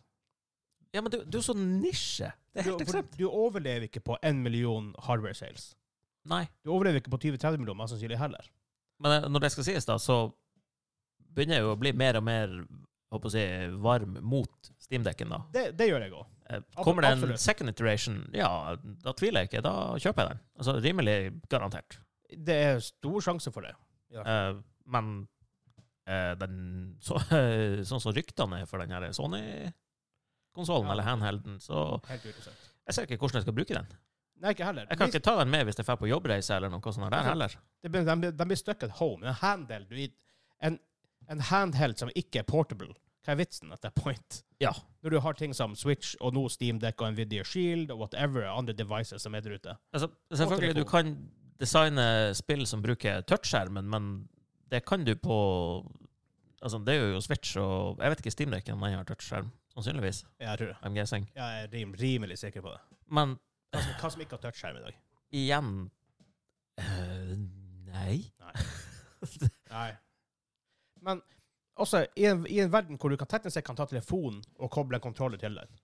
Ja, men du, du er så nisje. Det er Du, helt for ekstremt. du overlever ikke på 1 million hardware sales. Nei. Du overlever ikke på 20-30 millioner, mest sannsynlig heller. Men eh, når det skal sies, da, så begynner jeg jo å bli mer og mer håper jeg, å si, varm mot steamdekken, da. Det, det gjør jeg òg. Eh, Kommer det en Absolutt. second iteration, ja, da tviler jeg ikke. Da kjøper jeg den. Altså rimelig garantert. Det er stor sjanse for det. Eh, men eh, den, så, sånn som ryktene er for den her Sony-konsollen, Ja. eller handhelden, så Helt uansett. jeg ser ikke hvordan jeg skal bruke den. Nei, ikke heller. Jeg kan ikke ta den med hvis Altså, jeg drar på jobbreise eller noe sånt der heller. De, de, de, de blir stuck at home. En handheld, du, i- en, en handheld som ikke er portable, hva er vitsen at that point? Ja. Når du har ting som Switch og nå Steam Deck og Nvidia Shield og whatever andre devices som er der ute. Altså, selvfølgelig, du telefon. kan designe spill som bruker touchskjermen, men det kan du på Altså, det er jo Switch og Jeg vet ikke Steamdekken om den har touchskjerm, sannsynligvis. Jeg tror det. I'm guessing. Jeg er rim, rimelig sikker på det. Men Hva som, hva som ikke har touchskjerm i dag. igjen eh, Nei. Nei. Men også i en, i en verden hvor du kan teknisk sett kan ta telefonen og koble en kontroller til den,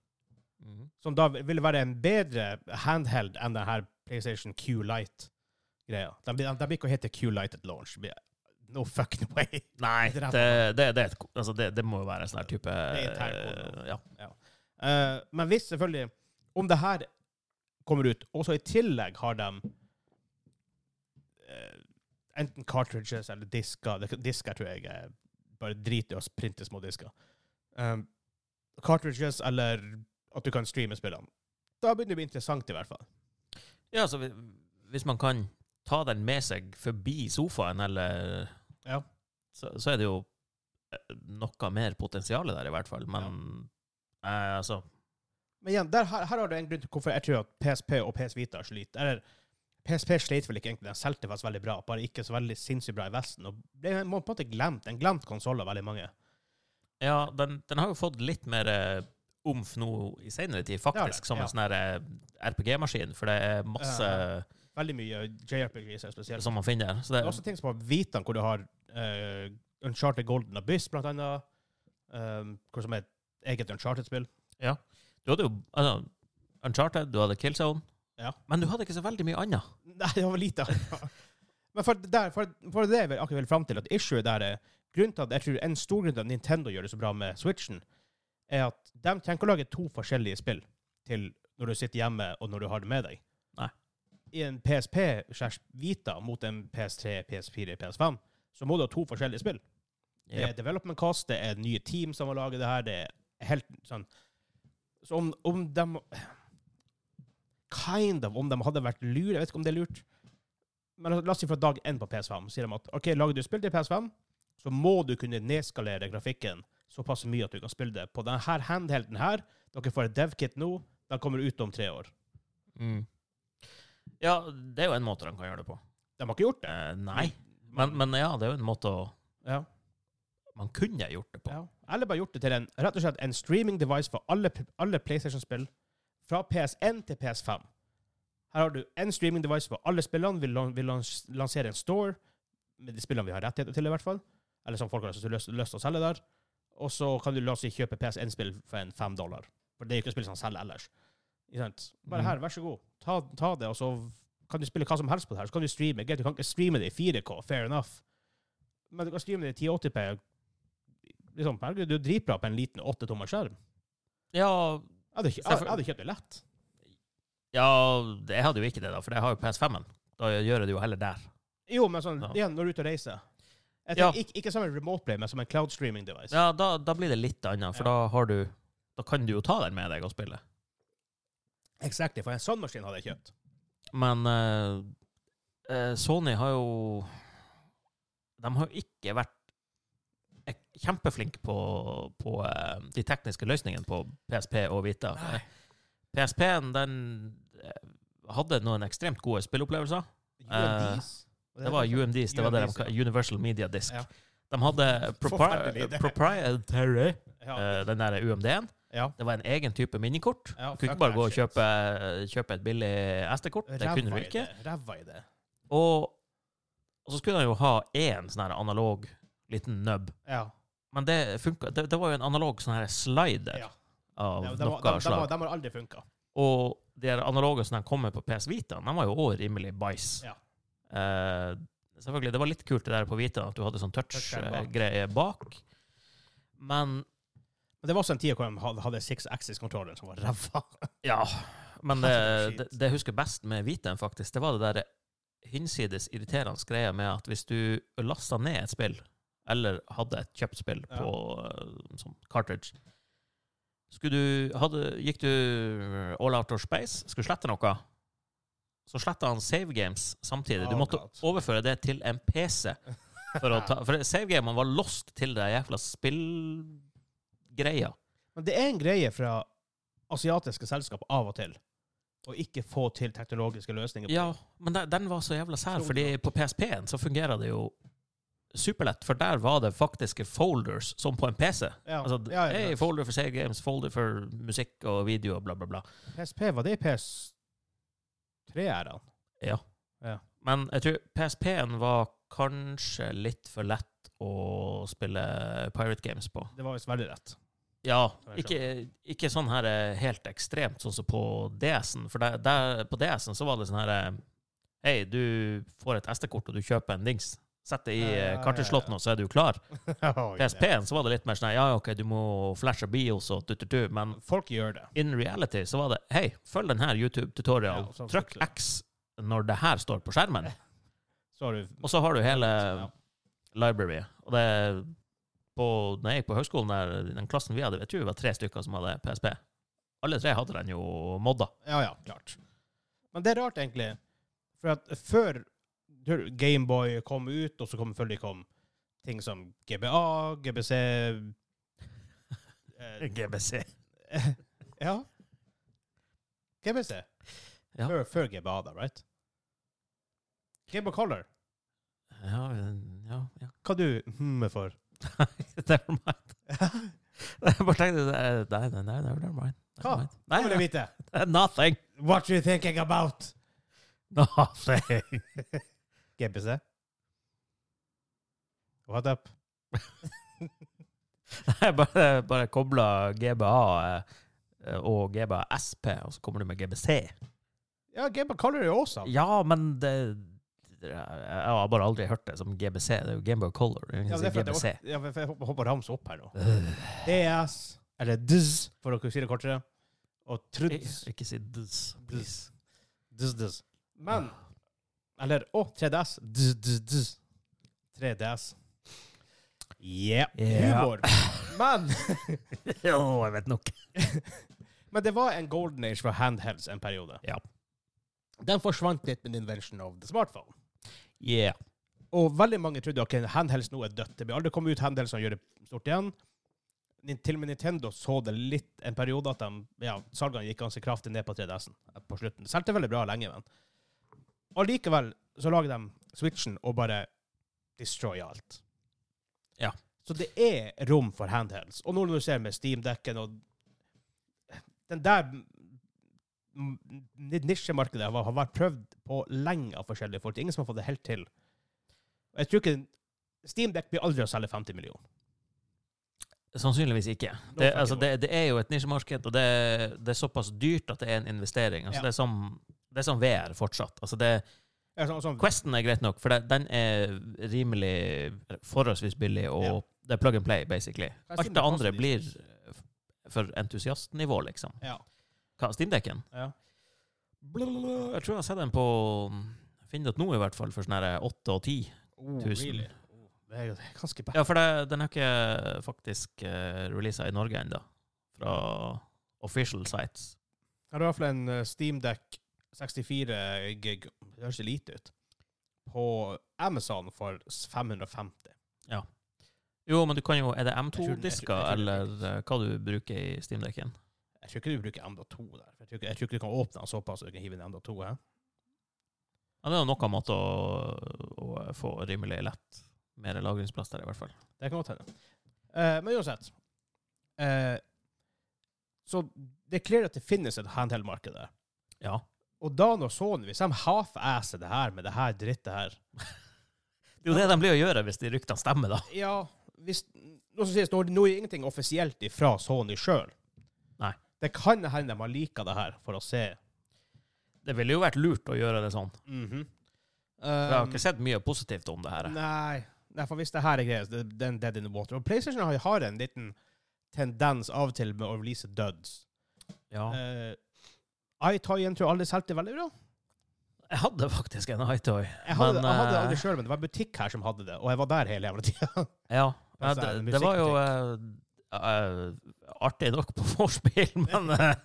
Mhm. som da vil være en bedre handheld enn den her PlayStation Q Lite-greia. De, blir- de blir ikke å hete Q Lite at launch. Det blir- No fucking way. Nei, Det det, er det, det, er et, altså det, det må jo være en sånn her type er intern kode. eh, Ja. Eh, men hvis selvfølgelig Om det her kommer ut, og så i tillegg har de eh, enten cartridges eller disker det- Disker tror jeg er bare drit i å printe små disker. Um, cartridges eller at du kan streame spillene. Da begynner det å bli interessant, i hvert fall. ja, altså vi- hvis man kan ta den med seg forbi sofaen, eller Ja. så, så er det jo eh, noe mer potensial der, i hvert fall. Men eh, altså Men igjen, der, her, her har du en grunn til hvorfor jeg tror at PSP og PS Vita sliter. Eller PSP slet vel ikke egentlig, den solgte faktisk veldig bra, bare ikke så veldig sinnssykt bra i Vesten. Og ble på en måte glemt. En glemt konsoll av veldig mange. Ja, den, den har jo fått litt mer eh, omf nå i senere tid, har faktisk, det, som ja. en sånn her eh, RPG-maskin, for det er masse Ja, Veldig mye JRPGs er spesielt. som man finner. Så det, Det er også ting som har Vitaen, hvor du har eh, Uncharted Golden Abyss, blant annet. Um, hvor som er et eget Uncharted-spill. du hadde jo altså, Uncharted, du hadde Killzone, Ja. men du hadde ikke så veldig mye annet. Nei, det var lite. Men for, der, for, for det jeg vil- akkurat vil fram til, at issue der er grunnen til at jeg tror en stor grunn til at Nintendo gjør det så bra med Switchen, er at de trenger ikke å lage to forskjellige spill til når du sitter hjemme og når du har det med deg. Nei. I en PSP slash Vita mot en PS3, PS4, PS5, så må du ha to forskjellige spill. Det er Ja. development cost, det er nye team som har laget det her, det er helt sånn Så om, om de Kind of, om de hadde vært lure, jeg vet ikke om det er lurt Men la oss si fra dag én på PS5, sier de at OK, lager du spill til PS5, så må du kunne nedskalere grafikken såpass mye at du kan spille det på denne handhelden her. Dere får et dev-kit nå, den kommer ut om tre år. Mm. ja, det er jo en måte de kan gjøre det på. De har ikke gjort det. Eh, nei, men, men ja, det er jo en måte å Ja. Man kunne gjort det på. Ja. Eller bare gjort det til en, rett og slett en streaming device for alle, alle PlayStation-spill fra PS1 til PS5. Her har du en streaming device for alle spillene. Vi, lan vi lans lanserer en store med de spillene vi har rettigheter til, i hvert fall. Eller som folk har lyst, lyst, lyst til å selge der. Og så kan du la oss si kjøpe PS1-spill for en fem dollar. For det er jo ikke spill som selger ellers. Ikke sant? Bare Mhm. her, vær så god. Ta, ta det, og så kan du spille hva som helst på det her. Så kan du streame. Greit, du kan ikke streame det i 4K, fair enough. Men du kan streame det i 1080p liksom, herregud, du er dritbra på en liten 8-tommer skjerm. Ja, Jeg hadde, kjø- jeg, jeg hadde kjøpt det lett. ja, jeg hadde jo ikke det, da, for jeg har jo PS5-en. Da gjør jeg det jo heller der. Jo, men sånn, Ja. igjen, når du er ute og reiser. Jeg Ja. tenker, ikke, ikke som en remote play, men som en cloud streaming device. Ja, da, da blir det litt annet, for Ja. da har du Da kan du jo ta den med deg og spille. Exactly, for en sånn maskin hadde jeg kjøpt. Men eh, eh, Sony har jo De har jo ikke vært ek- kjempeflinke på, på eh, de tekniske løsningene på PSP og Vita. Nei. PSP-en, den eh, hadde noen ekstremt gode spillopplevelser. UMDs? Eh, Det var UMDs, det var det de UMDs, ja. kalte Universal Media Disk. Ja. De hadde Forferdelig, propri det. proprietary, Ja. eh, den der UMD-en, Ja. Det var en egen type minikort. Ja, Du kunne fuck ikke bare that gå og shit. kjøpe, kjøpe et billig SD-kort. Det Ræva kunne du i ikke. det, Ræva i det. Og, og så skulle han jo ha én sånn her analog liten nubb. Ja. Men det funka Det, det var jo en analog sånn her slider ja. av De, de, noe de, de, slag. de har aldri funka. Og de her analoge som de kom med på PS Vita, de var jo òg rimelig bæsj. Ja. Eh, selvfølgelig, det var litt kult det der på Vita, at du hadde sånn Touchskjerm bak. touch-greie bak. Men Men det var også en tid hvor de hadde- hadde six axis-kontroller som var ræva. Ja, men Herregud. det, det, det jeg husker best med Vitaen, faktisk, det var det der hinsides irriterende greia med at hvis du lasta ned et spill, eller hadde et kjøpt spill på eh, sånn cartridge skulle du, hadde, Gikk du all out of space, skulle slette noe, så sletta han save games samtidig. Du Oh, måtte God. overføre det til en PC. For, å ta, for save gamene var lost til det jævla spillgreia. Men det er en greie fra asiatiske selskap av og til å ikke få til teknologiske løsninger. på Ja, ting. men den, den var så jævla sær, Utrolig fordi på PSP-en så fungerer det jo superlett, for der var det faktiske folders, som på en PC. ja. Altså, ja, ja, hey, ja. folder for save games, folder for musikk og video og bla, bla, bla. PSP, var det i PS3-æraen? Ja. Ja. Men jeg tror PSP-en var kanskje litt for lett å spille pirate games på. Det var visst veldig rett. Ja, Så jeg ikke, ikke sånn her eh, helt ekstremt, sånn som på DS-en. For der, der, på DS-en så var det sånn her eh, Hei, du får et SD-kort, og du kjøper en dings. Sett det Ja, i ja, eh, ja, karteslotten, ja. og så er du klar. Oi, det- PSP-en så var det litt mer sånn her, Ja, OK, du må flashe bios og tututu, men Folk gjør det. in reality så var det Hei, følg den her Ja, YouTube-tutorialen. og sånn så- Trykk X når det her står på skjermen. Så har du Og så har du hele Ja. library. Og det på, når jeg gikk på høgskolen, der, i den klassen vi hadde, jeg tror det var tre stykker som hadde PSP. Alle tre hadde den jo modda. Ja, ja, klart. Men det er rart, egentlig. For at før Gameboy kom ut, og så kom følgelig kom ting som GBA, GBC eh, GBC. Ja. GBC. Ja. Før, før GBA, da, right? Game of Color. Ja, ja, ja. Hva du hm for? Never mind. Jeg bare tenkte det er- Nei, nei, nei, never mind. Hva? Hva Never mind. Nei, vil jeg nei, vite? nothing. What you thinking about? Nothing. GBC. What up? Jeg bare, bare kobla GBA eh, og GBA SP, og så kommer du med GBC. Ja, Game of Color er jo altså. awesome. Ja, men det, det- Jeg har bare aldri hørt det som GBC. Det er jo Game Boy Color. Det er jo ingen Ja, som men det er sier for at GBC. jeg, ja, for jeg hopper, hopper rams opp her nå. DS, eller DZ, for å si det kortere, og TRUDS. Ik- Øh, Ikke si dz, Eh, please. DZ, DZ. Men, eller, å, 3DS. DZ, DZ, DZ. 3DS. Yeah. Ja. Humor. Men, Jo, jeg vet nok. men det var en golden age for handhelds en periode. Ja. Den forsvant litt med invention of the smartphone. Yeah. Og veldig mange trodde ok, handhelds nå er dødt. Det blir aldri kommet ut handhelds som gjør det stort igjen. Nin- Til og med Nintendo så det litt en periode at de, ja, salgene gikk ganske kraftig ned på 3DS-en på slutten. Solgte veldig bra lenge, men allikevel så lager de Switchen og bare destroy alt. Ja. Så det er rom for handhelds. Og nå når du ser med Steam-dekken og Den der m- n- nisjemarkedet har har vært prøvd på lenge av forskjellige folk. Det er ingen som har fått det helt til. Og Jeg tror ikke Steam Deck blir aldri å selge 50 millioner. Sannsynligvis ikke. Nå Det, snakker altså, vi. det, det er jo et nisjemarked, og det, det er såpass dyrt at det er en investering. Altså, Ja. det, er som, det er som VR fortsatt. Altså, det, Ja, sånn, sånn, Questen er greit nok, for det, den er rimelig forholdsvis billig, og Ja. det er plug and play, basically. Hva er Alt Steam det Deck andre koster? blir for entusiastnivå, liksom. ja. Hva, Steamdekken? Ja. Blablabla. Jeg tror jeg har sett den på mm, Finn.no i hvert fall, for sånn her 8 og 10. Oh, Tusen. really? Oh, Det er jo det er ganske bra. Ja, for det, den er ikke faktisk uh, releasa i Norge ennå, fra official sites. Her er i hvert fall en eh, Steam Deck 64 gig, det høres lite ut, på Amazon for s- 550. Jo, men du kan jo Er det Jeg tror den- jeg tror- M2-disker, jeg tror den er eller eh, hva du bruker i Steamdekken? Jeg tror ikke du bruker MDA2 der. for Jeg tror ikke, jeg tror ikke du kan åpne den såpass at du kan hive inn MDA2. Her. Ja, det er jo noen måter å, å få rimelig lett mer lagringsplass der, i hvert fall. Det kan godt hende. Eh, men uansett. Eh, Så det er klart at det finnes et handheld-marked der. Ja. Og Dan og Sony, hvis de half-asser det her med det her drittet her Det er jo det de blir å gjøre hvis de ryktene stemmer, da. Ja, hvis Nå skal sies, nå, nå er det ingenting offisielt ifra Sony sjøl. Nei. Det kan hende de har lika det her, for å se. Det ville jo vært lurt å gjøre det sånn. For Jeg har Um, ikke sett mye positivt om det her. Nei, nei, for hvis det her er greia, så det, det er en dead in the water. Og PlayStation har, har en liten tendens av og til med å release duds. Ja. Eh, iToyen tror jeg aldri solgte veldig bra. Jeg hadde faktisk en Hightoy. Jeg hadde, Men, jeg hadde det eh, aldri sjøl, men det var en butikk her som hadde det, og jeg var der hele jævla tida. Ja. Men ja så det, er det det var jo eh, eh, artig nok på vorspiel, men eh,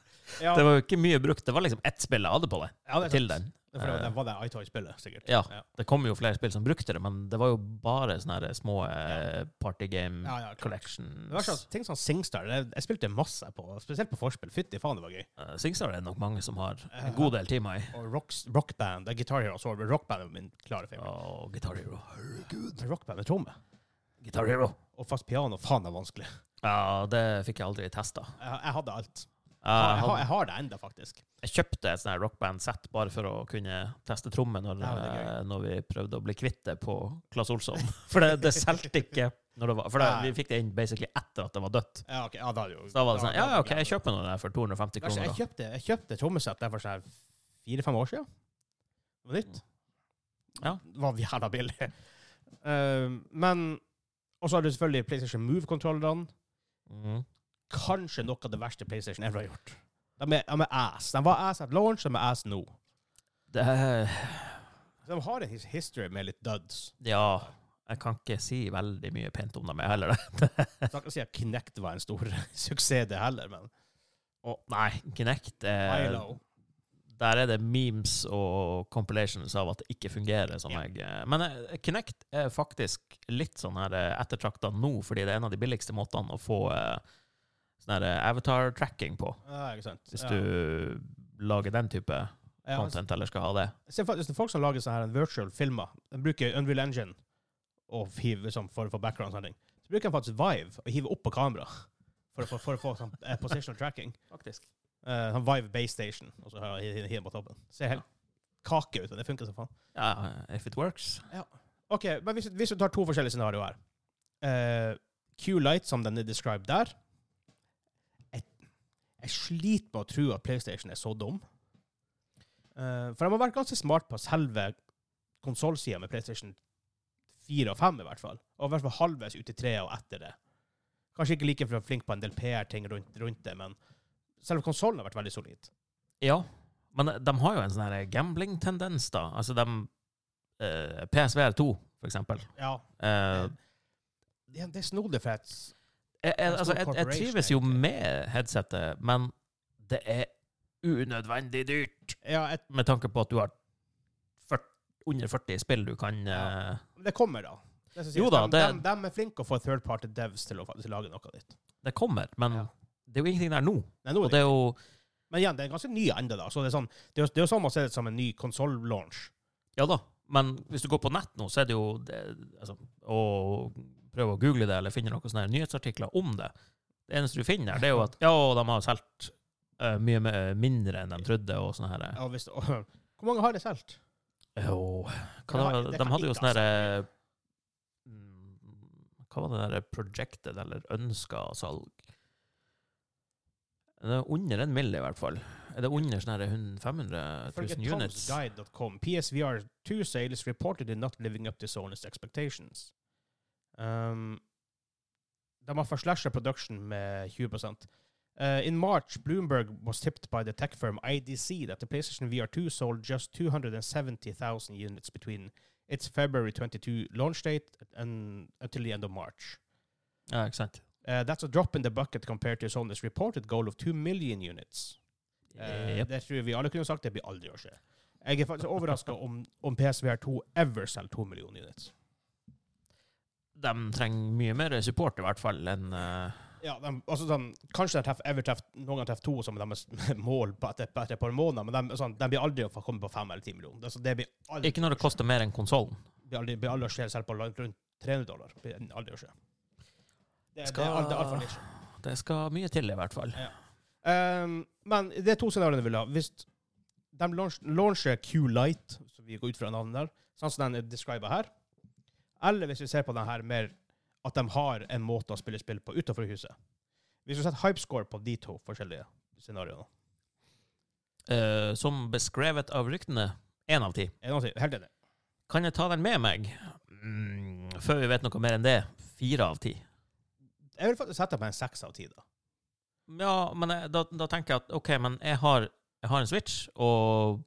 ja, det var jo ikke mye brukt. Det var liksom ett spill jeg hadde på det. ja, det er til sant. den. Det er fordi det var det iToy-spillet, sikkert. Ja. Ja, Det kom jo flere spill som brukte det, men det var jo bare sånne her små eh, party game ja, ja klart. collections. Det var sånn, ting som Singstar, jeg, jeg spilte masse på, spesielt på forspill. Fytti faen, det var gøy. Eh, Singstar er det nok mange som har en god del timer i. Og rocks, rockband, det er Guitar Hero, så var det rockband er min klare film. Og Guitar Hero. Herregud. Rockband med tromme. Guitar Hero. Og fast piano, faen, det er vanskelig. Ja, det fikk jeg aldri testa. Jeg, jeg hadde alt. Jeg, jeg, har, hadde- jeg har det enda, faktisk. jeg kjøpte et sånt her rockband-sett bare for å kunne teste trommer når, Ja, det er gøy. eh, når vi prøvde å bli kvitt det på Claes Olsson. For det, det solgte ikke. Når det var, for det, Nei. vi fikk det inn basically etter at det var dødt. Ja, ok, ja, da er det jo... Så da var det sånn Ja, da- ja, OK, jeg kjøper noe der for 250 Kanskje kroner. jeg kjøpte, jeg kjøpte trommesett der for sånn fire-fem år siden. Det var nytt. Ja. Det var jævla billig. Eh, men Og så har du selvfølgelig PlayStation Move-kontrollerne. da. Mhm. Kanskje noe av det verste PlayStation ever har gjort. De er, de er ass. De var ass at launch, de er ass nå. Det Så De har en his- history med litt duds. Ja, jeg kan ikke si veldig mye pent om dem jeg heller. det. Så jeg kan si at Kinect var en stor suksess, det heller, men Og nei, Kinect eh, Hilo. Der er det memes og compilations av at det ikke fungerer. som Ja. jeg... eh, Men eh, Kinect er faktisk litt sånn her ettertrakta nå, fordi det er en av de billigste måtene å få eh, sånn her eh, avatar-tracking på, Ja, ikke sant. hvis Ja. du lager den type Ja, content eller skal ha det. Jeg ser faktisk det er folk som lager sånne her virtual filmer. De bruker Unreal Engine og hiver liksom, for å få background sånne ting. Så bruker de faktisk Vive og hiver opp på kamera for å få, for å få sånn, eh, positional tracking. Faktisk. Eh, sånn Vive Base Station, og så har jeg hiver på toppen. Ser helt kake ut, men det funker som faen. Ja, if it works. Ok, men hvis, hvis du tar to forskjellige scenarioer her. Eh, Q-Light, som den er described der. Jeg, jeg sliter med å tro at PlayStation er så dum. Eh, for de har vært ganske smart på selve konsollsida med PlayStation 4 og 5, i hvert fall. Og i hvert fall halvveis ut i 3 og etter det. Kanskje ikke like flink på en del PR-ting rundt, rundt det, men selve konsollen har vært veldig solid. Ja, men de har jo en sånn her gambling-tendens, da. Altså de eh, PSVR 2, for eksempel. Ja. Eh, Det, det er snodig for et jeg, jeg, En altså, stor jeg, jeg corporation, trives jo egentlig. med headsetet, men det er unødvendig dyrt Ja, et, med tanke på at du har 40, under 40 spill du kan Ja. eh, Det kommer, da. Det som sies, Jo da, de, det- de, de er flinke å få third party devs til å faktisk lage noe ditt. Det kommer, men Ja. det er jo ingenting der nå. Nei, nå Og er det det, er jo men igjen, det er ganske ny ennå, da. Så det er sånn, det er, jo- det er jo som å se det som en ny konsoll-launch. Ja da, men hvis du går på nett nå, så er det jo det, altså, Å prøve å google det eller finne noen sånne her nyhetsartikler om det. Det eneste du finner, der, det er jo at ja, de har solgt eh, mye mer- mindre enn de trodde. og sånne her. Ja, hvis det- Hvor mange har det solgt? Jo, hva Det da, har- det de kan altså. hadde jo ikke sånn ha derre mm, Hva var det derre projected eller ønska salg? Det er under en mill, i hvert fall. Er det under sånn her 100 500 Ifølge 000 units? tomsguide.com, PSVR 2 sales reportedly not living up to Sony's expectations. Um, de har forslasha production med 20 Uh, in March, Bloomberg was tipped by the tech firm IDC that the PlayStation VR 2 sold just 270,000 units between its February 22 launch date and until the end of March. Ja, ikke sant? Uh, that's a drop in the bucket compared to Sony's reported goal of 2 million units. Eh, Jep. Det tror jeg vi alle kunne sagt, det blir aldri å skje. Jeg er faktisk overraska om, om PSVR2 ever selger to millioner units. De trenger mye mer support, i hvert fall, enn eh, Ja, de, altså sånn, Kanskje de treffer, ever treffer, noen gang treffer to som deres mål på etter, på etter et par måneder, men de, sånn, de blir aldri å få komme på fem eller ti millioner. Altså, det blir aldri, Ikke når det koster mer enn konsollen. blir aldri, blir aldri å skje, selv på langt rundt 300 dollar. Blir aldri å skje. Det, det Skal- er alt- det er altfor nisje. Det skal mye til, i hvert fall. Um, men det er to scenarioer jeg vil ha. Hvis de launch, launcher Q-Light, så vi går ut fra navnet der, sånn som den er describet her, eller hvis vi ser på den her mer at de har en måte å spille spill på utenfor huset. Hvis du setter hypescore på de to forskjellige scenarioene Eh, som beskrevet av ryktene, én av ti. En annen ting, Helt enig. Kan jeg ta den med meg? Mm, før vi vet noe mer enn det, fire av ti. Jeg vil faktisk sette på en seks av ti, da. Ja, men jeg, da, da tenker jeg at OK, men jeg har, jeg har en Switch, og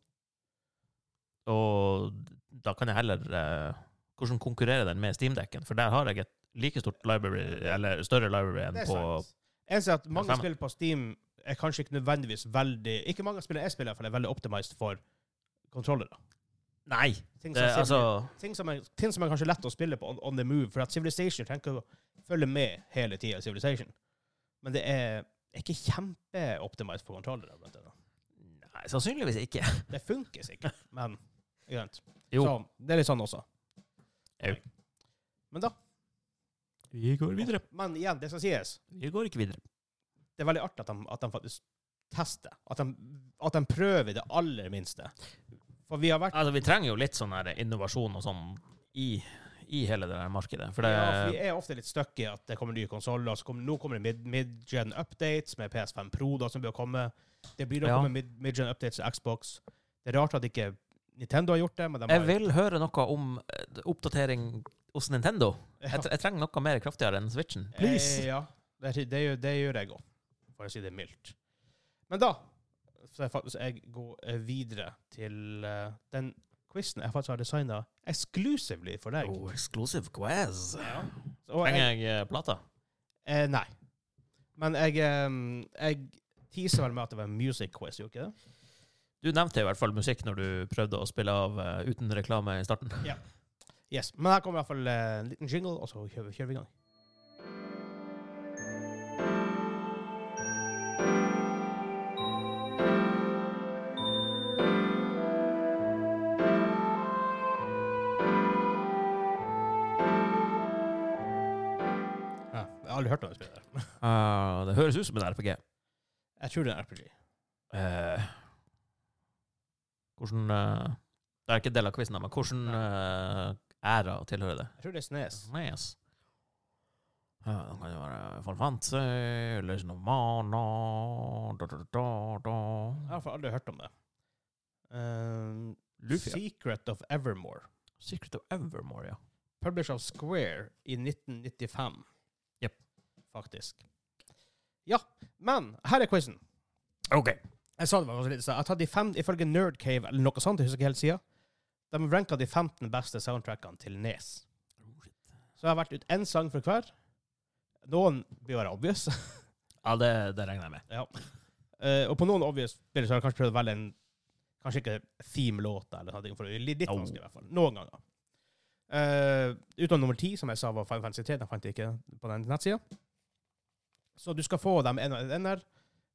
Og da kan jeg heller eh, Hvordan konkurrerer den med Steam-dekken? For der har jeg et like stort library, eller større library enn Det er på sant. Jeg ser at mange Fem. spill på Steam er kanskje ikke nødvendigvis veldig Ikke mange spillere jeg spiller, i hvert fall er veldig optimized for kontrollere. Nei! Ting Det, som, altså ting, som er, ting som er kanskje lett å spille på on, on the move, for at Civilization trenger ikke å følge med hele tida. Civilization. Men det er ikke kjempeoptimized for kontrollere. Blant annet. Nei, sannsynligvis ikke. Det funker sikkert, men ikke sant. Jo. Så det er litt sånn også. Jo. Men da Vi går Men igjen, det skal sies. Vi går ikke videre. Det er veldig artig at de, at de faktisk tester. At de, at de prøver det aller minste. For vi har vært Altså, vi trenger jo litt sånn her innovasjon og sånn i, i hele det der markedet. For det, ja, for Vi er ofte litt stuck i at det kommer nye konsoller. Kommer, nå kommer det mid- mid-gen updates med PS5 Pro da, som bør komme. Det blir å Ja. komme mid- mid-gen updates til Xbox. Det er rart at ikke Nintendo har gjort det, men de jeg har vil høre noe om eh, oppdatering hos Nintendo. Jeg, tre- jeg trenger noe mer kraftigere enn Switchen. Eh, ja, det, er- det, gjør, det gjør jeg òg, for å si det mildt. Men da skal jeg faktisk jeg gå eh, videre til eh, den quizen jeg faktisk har designa exclusively for deg. Oh, exclusive quiz. Ja. Og jeg, Trenger jeg eh, plata? eh, nei. Men jeg, eh, jeg teaser vel med at det var en music quiz, gjorde ikke det? Du nevnte i hvert fall musikk når du prøvde å spille av eh, uten reklame i starten. Yes. Men her kommer i hvert fall eh, en liten jingle, og så kjører, vi- kjører vi i gang. Ja, jeg har aldri hørt om det spillet. der. Ah, det høres ut som en RPG. Jeg tror det er RPG. Eh, hvordan eh, Det er ikke del av quizen, men hvordan eh, æra tilhører det? Jeg tror det er Snes. Nice. Ja, det kan jo være Final Fantasy, Legend of Mana da, da, da, da. Jeg har i hvert fall aldri hørt om det. Um, Lufia. Secret of Evermore. Secret of Evermore, ja. Published av Square i 1995. Jep. Faktisk. Ja, men her er quizen. OK. Jeg sa det var kanskje litt i stad. Jeg har tatt de fem, ifølge Nerd Cave eller noe sånt, jeg husker ikke helt sida. De ranka de 15 beste soundtrackene til Nes. Så jeg har vært ut én sang for hver. Noen blir bare obvious. Ja, det, det regner jeg med. ja. Eh, og på noen obvious spiller så har jeg kanskje prøvd å velge en Kanskje ikke theme-låta eller noe, for det er litt litt Oh. vanskelig i hvert fall. Noen ganger. Eh, utenom nummer ti, som jeg sa var Final Fantasy 3. Den fant jeg ikke på den nettsida. Så du skal få dem en og en her.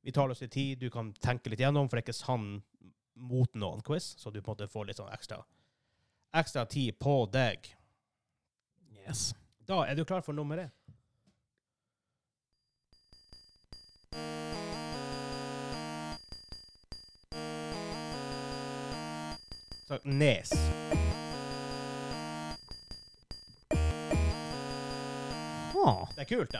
Vi tar oss litt tid. Du kan tenke litt gjennom, for det er ikke sann mot noen quiz, så du på en måte får litt sånn ekstra, ekstra tid på deg. Yes. Da er du klar for nummer én. Så, Nes. Ah. Det er kult, da.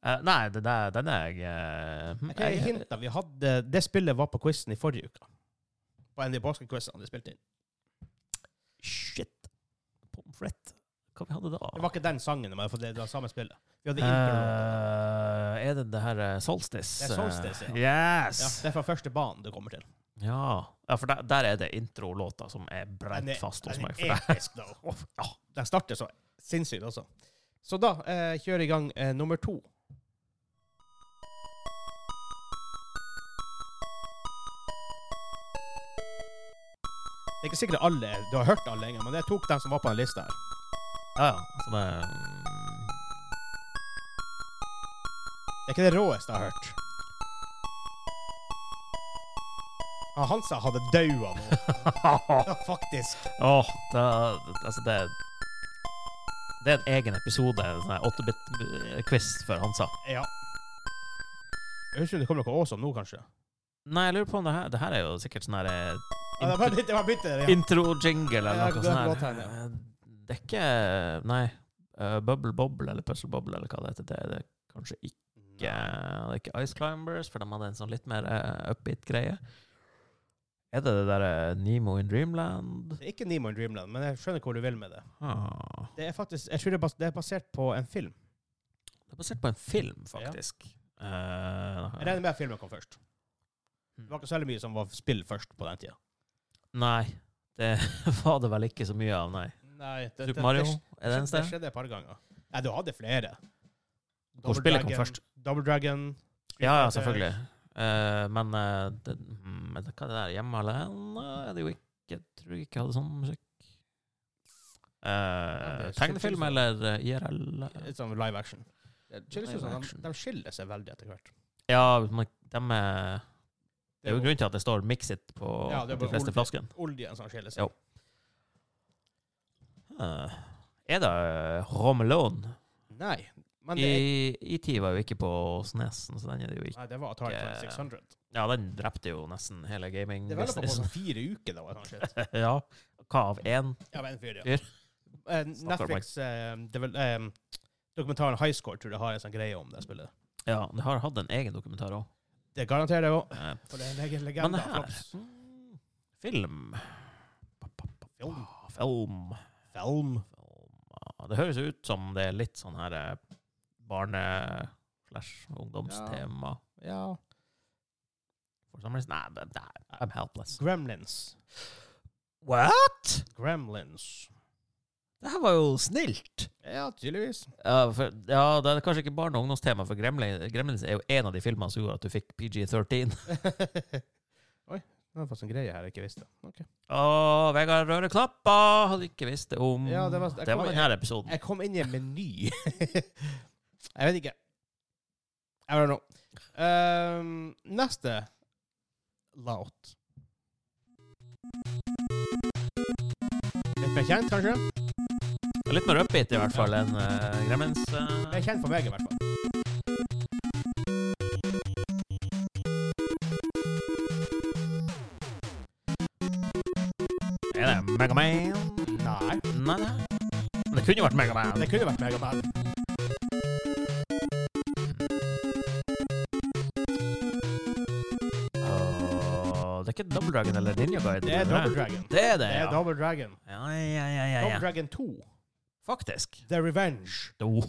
Eh, nei, det der, den er jeg eh, hmm, Jeg kan gi jeg- hint da, vi hadde, det spillet var på quizen i forrige uke. På en av de påskequizene vi spilte inn. Shit. Pommes frites. Hva vi hadde da? Det var ikke den sangen, men for det, det var samme spillet. Vi hadde intro. Eh, er det det her eh, Solstice? Det er Solstice, ja. Yes! Ja, det er fra første banen du kommer til. Ja. ja, for der, der er det introlåta som er Den brent er- fast hos den er meg. For der. episk, da. Ja. Den starter så sinnssykt også. Så da eh, kjører jeg i gang eh, nummer to. Det er ikke sikkert alle du har hørt alle lenger, men jeg tok dem som var på den lista her. e- Ja, ja. Så det mm, Det er ikke det råeste jeg har hørt. Ja, Hansa hadde daua nå, Åh, Ja, faktisk. det, altså det Det er en egen episode, en sånn 8-bit-quiz for Hansa. Ja. Jeg husker om det kom noe awesome nå, kanskje. Nei, jeg lurer på om det her Det her er jo sikkert sånn her eh, Ja, det var bytte, det var bytte, ja. intro-jingle Ja, eller det noe kan sånt. godt hende, her. Eh, Det er ikke Nei. eh, Bubble Bobble eller Puzzle Bobble eller hva det heter. Det er det kanskje ikke. Det er ikke Ice Climbers, for de hadde en sånn litt mer eh, upbeat-greie. Er det det derre Nemo in Dreamland? Det er ikke Nemo in Dreamland, men jeg skjønner hvor du vil med det. Ah. Det er faktisk, Jeg tror det er bas- det er basert på en film. Det er basert på en film, faktisk. Jeg Eh, regner med at filmen kom først. hmm. Det var ikke så veldig mye som var spill først på den tida. nei, det var det vel ikke så mye av, nei. Nei, det, Super Mario det, er det eneste. Det skjedde et par ganger. Nei, du hadde flere. Hvor spillet kom Dragon- først. Double Dragon. Street Ja, ja, Fighter. selvfølgelig. Eh, men eh, det, mm, men hva er det der? Hjemme alene er det jo ikke. Jeg tror jeg ikke hadde sånn musikk. det Eh, er tegnefilm sikkert eller eh, IRL? Litt sånn live action. Det skilles jo Live sånn, action. de, de skiller seg veldig etter hvert. Ja, men de er, det er jo grunnen til at det står 'mix it' på Ja, det er de bare fleste olje. flaskene. Oljen som sånn skiller Jo. seg. Eh, er det Romelone? Nei, men det, I, IT var jo ikke på Snesen, så den er det jo er- ikke. nei, det var Atari Ikke- 600. Ja, den drepte jo nesten hele gaming. Det var på sånn fire uker, da. eller noe sånt. ja. Hva av én? Ja, men en fyr, ja. Fyr. Eh, Snakker om Netflix eh, det er vel, eh, Dokumentaren High Score tror jeg har en sånn greie om det spillet. Ja, det har hatt en egen dokumentar òg. Det garanterer jeg òg. Eh, For det er en egen men legende. det av her Flops. mm, Film. Pa, pa, pa, pa. Film. Film. Film. Ja, Det høres ut som det er litt sånn her eh, barne- slash ungdomstema. Ja. For some reason, nei, det- nei, I'm helpless. Gremlins. What?! Gremlins. Det her var jo snilt! Ja, tydeligvis. Ja, for, ja, det er kanskje ikke barne- og ungdomstema, for Gremlins, Gremlins er jo en av de filmene som gjorde at du fikk PG-13. Oi, det var faktisk en greie her jeg ikke visste. Ok. Å, Vegard rører knapper! Hadde ikke visst det om Ja, det var- jeg det kom- var denne episoden. Jeg kom inn i en meny. jeg vet ikke. I don't know. Ehm, neste låt. Litt mer kjent, kanskje? Det er Litt mer upbeat, i hvert fall, enn eh, Gremlins. eh. Mer kjent for meg, i hvert fall. er det Megaman? Nei. Nei, nei. Det kunne jo vært Megaman. Det kunne vært Megaman. Åh, det er ikke Double Dragon eller Ninja Guide. Det er Double Dragon. Det er det, Det er ja. Double Dragon. Ja, ja, ja, ja, Double ja. Dragon 2. Faktisk. The Revenge. Oh.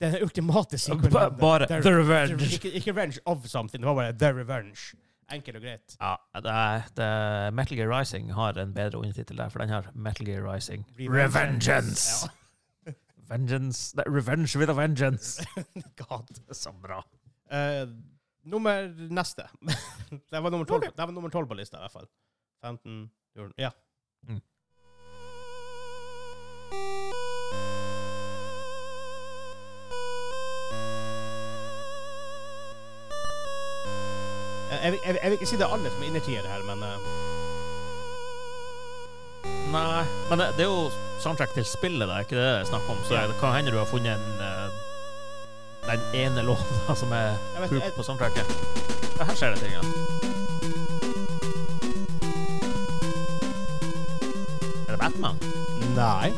Den ultimate sequelen. Ba- Bare The The Revenge. Ikke, ikke Revenge of something, det var bare The Revenge. Enkelt og greit. Ja, det er, det er Metal Gear Rising har en bedre undertittel der, for den har Metal Gear Rising. Revengeance! Vengeance Nei, Revenge with a vengeance! Ja. God. Så bra. Eh, nummer neste. det var nummer 12, det var nummer 12 på lista, i hvert fall. 15 14, Ja. Mm. Eh, Jeg, vil- jeg, vil- jeg vil ikke si det er alle som er innertier her, men eh, Nei, men det, det er jo soundtrack til spillet, det er ikke det det er snakk om, så det kan hende du har funnet en, eh, den ene låta som er jeg vet, poop jeg, på soundtracket. Ja, her skjer det ting, ja. Er det Batman? Nei.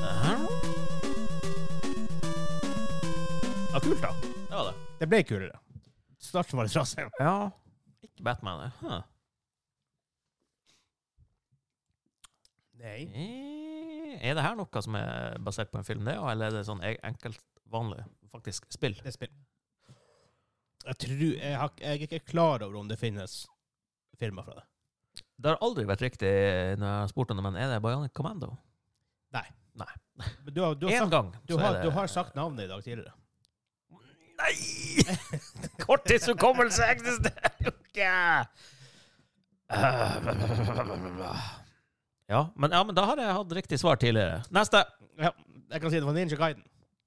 Ja, kult, da. Det var det. Det ble kulere. Starten var litt trasig. Ja. Ikke Batman, det. Huh. Nei. Eh, Er det her noe som er basert på en film, det, eller er det sånn e- enkelt, vanlig, faktisk spill? Det er spill. Jeg tror Jeg, har, jeg er ikke klar over om det finnes firma fra det. Det har aldri vært riktig eh, når jeg har spurt om det, men er det Bionic Commando? Men Du har, du har, Én sagt, gang. du, så er har, det- du har sagt navnet i dag tidligere. Nei! Korttidshukommelse eksisterer jo ikke! Eh, Ja men, ja, men da har jeg hatt riktig svar tidligere. Neste! Ja, jeg kan si det var Ninja Guiden.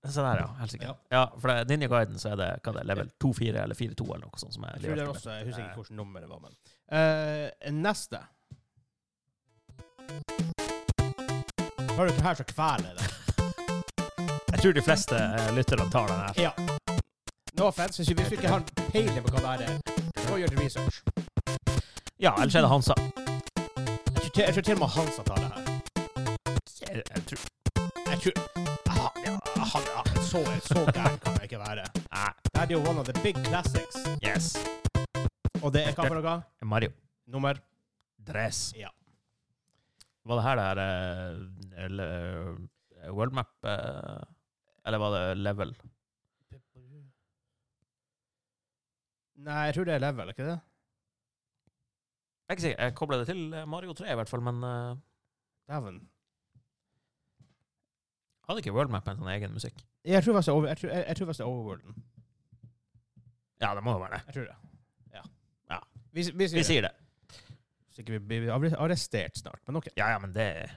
Se der, ja. Helt sikkert. Ja. for det, Ninja Guiden så er det hva det er, level 2-4 eller 4-2 eller noe sånt. som er Jeg tror det er level. også, jeg husker ikke hvilket nummer det var, men Eh, Neste. Hører du ikke her, så kveler jeg det. Jeg tror de fleste eh, lytterne tar den her. Ja. No offense, hvis du hvis du ikke har peiling på hva det her er, så gjør du research. Ja, ellers er det Hansa. Jeg tror til- jeg tror til og med Hansa tar det her. Jeg, jeg tror Jeg tror ah, ja, han, ja, Så, så gæren kan jeg ikke være. Nei. Dette er jo one of the big classics. Yes. Og det er hva for noe? Mario. Nummer Dress. Ja. Var det her det her eh, eller, eh, World Map eh, Eller var det level? Nei, jeg tror det er level, ikke det? Jeg er ikke sikker. Jeg kobla det til eh, Mario 3 i hvert fall, men eh, Dæven. hadde ikke World Map en sånn egen musikk? Jeg tror faktisk det er over- jeg tror- jeg- jeg tror faktisk det er Overworlden. Ja, det må jo være det. Jeg tror det. Ja. Ja. Vi, s- vi sier Vi det. sier det. Så ikke vi blir arre- arrestert snart, men OK. Ja, ja, men det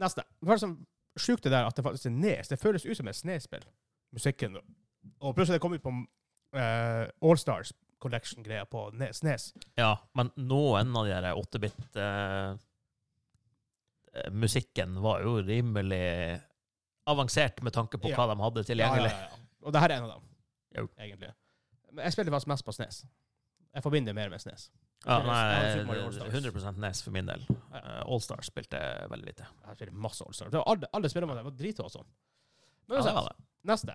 Neste. Hva er det som sjukt det der at det faktisk er nes? Det føles ut som et snespill, musikken. Og plutselig det kom ut på eh, All Stars Collection-greia på Nes. Nes. Ja, men noen av de der 8-bit eh, eh, Musikken var jo rimelig avansert med tanke på Ja. hva de hadde tilgjengelig. Ja, ja, ja. Og det her er en av dem, Jo. egentlig. Men jeg spiller faktisk mest på Snes. Jeg forbinder mer med Snes. Ja, Jeg har Super Mario nei, All-Stars. 100 Nes E for min del. Eh, All-Stars spilte jeg veldig lite. Jeg spiller masse All Stars. Det var Alle, alle spiller med det. Det var dritbra sånn. Men Ja, det uansett, var det. neste.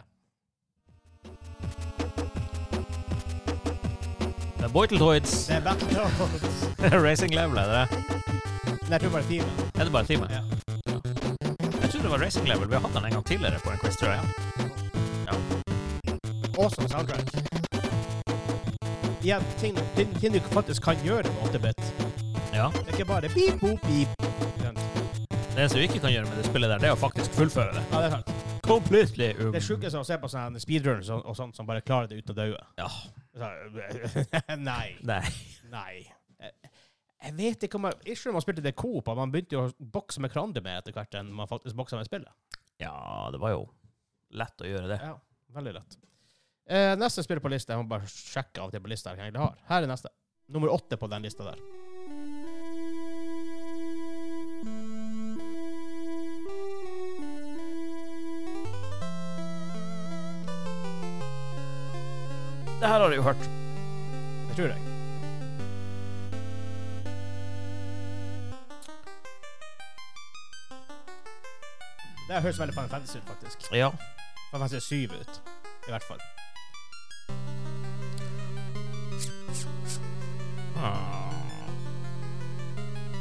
Det er Boiteltoids Det er Battletoads. Racing Level, er det det? Jeg tror bare timen. Er det bare en time? Ja. Jeg tror det var Racing Level. Vi har hatt den en gang tidligere på en quiz, tror jeg. Awesome soundtrack. Igjen, ting, ting, ting du faktisk kan gjøre med 8-bit. Ja. Det er ikke bare beep, boop, beep. Skjønt. Det eneste du ikke kan gjøre med det spillet der, det er å faktisk fullføre det. Ja, det er sant. Completely um. Det er sjukeste å se på sånne speedrunners og, og sånt som bare klarer det uten å daue. Ja. Så- Nei. Nei. Nei. Jeg- Jeg vet ikke om jeg Ikke om man spilte det Coop, og man begynte jo å bokse med hverandre mer etter hvert enn man faktisk boksa med spillet. Ja, det var jo lett å gjøre det. Ja, veldig lett. Eh, neste spill på lista, jeg må bare sjekke av og til på lista her hva jeg egentlig har. Her er neste. Nummer åtte på den lista der. Det her har du jo hørt. Jeg tror jeg. Det her høres veldig Final Fantasy ut, faktisk. Ja. Final Fantasy 7 ut, i hvert fall.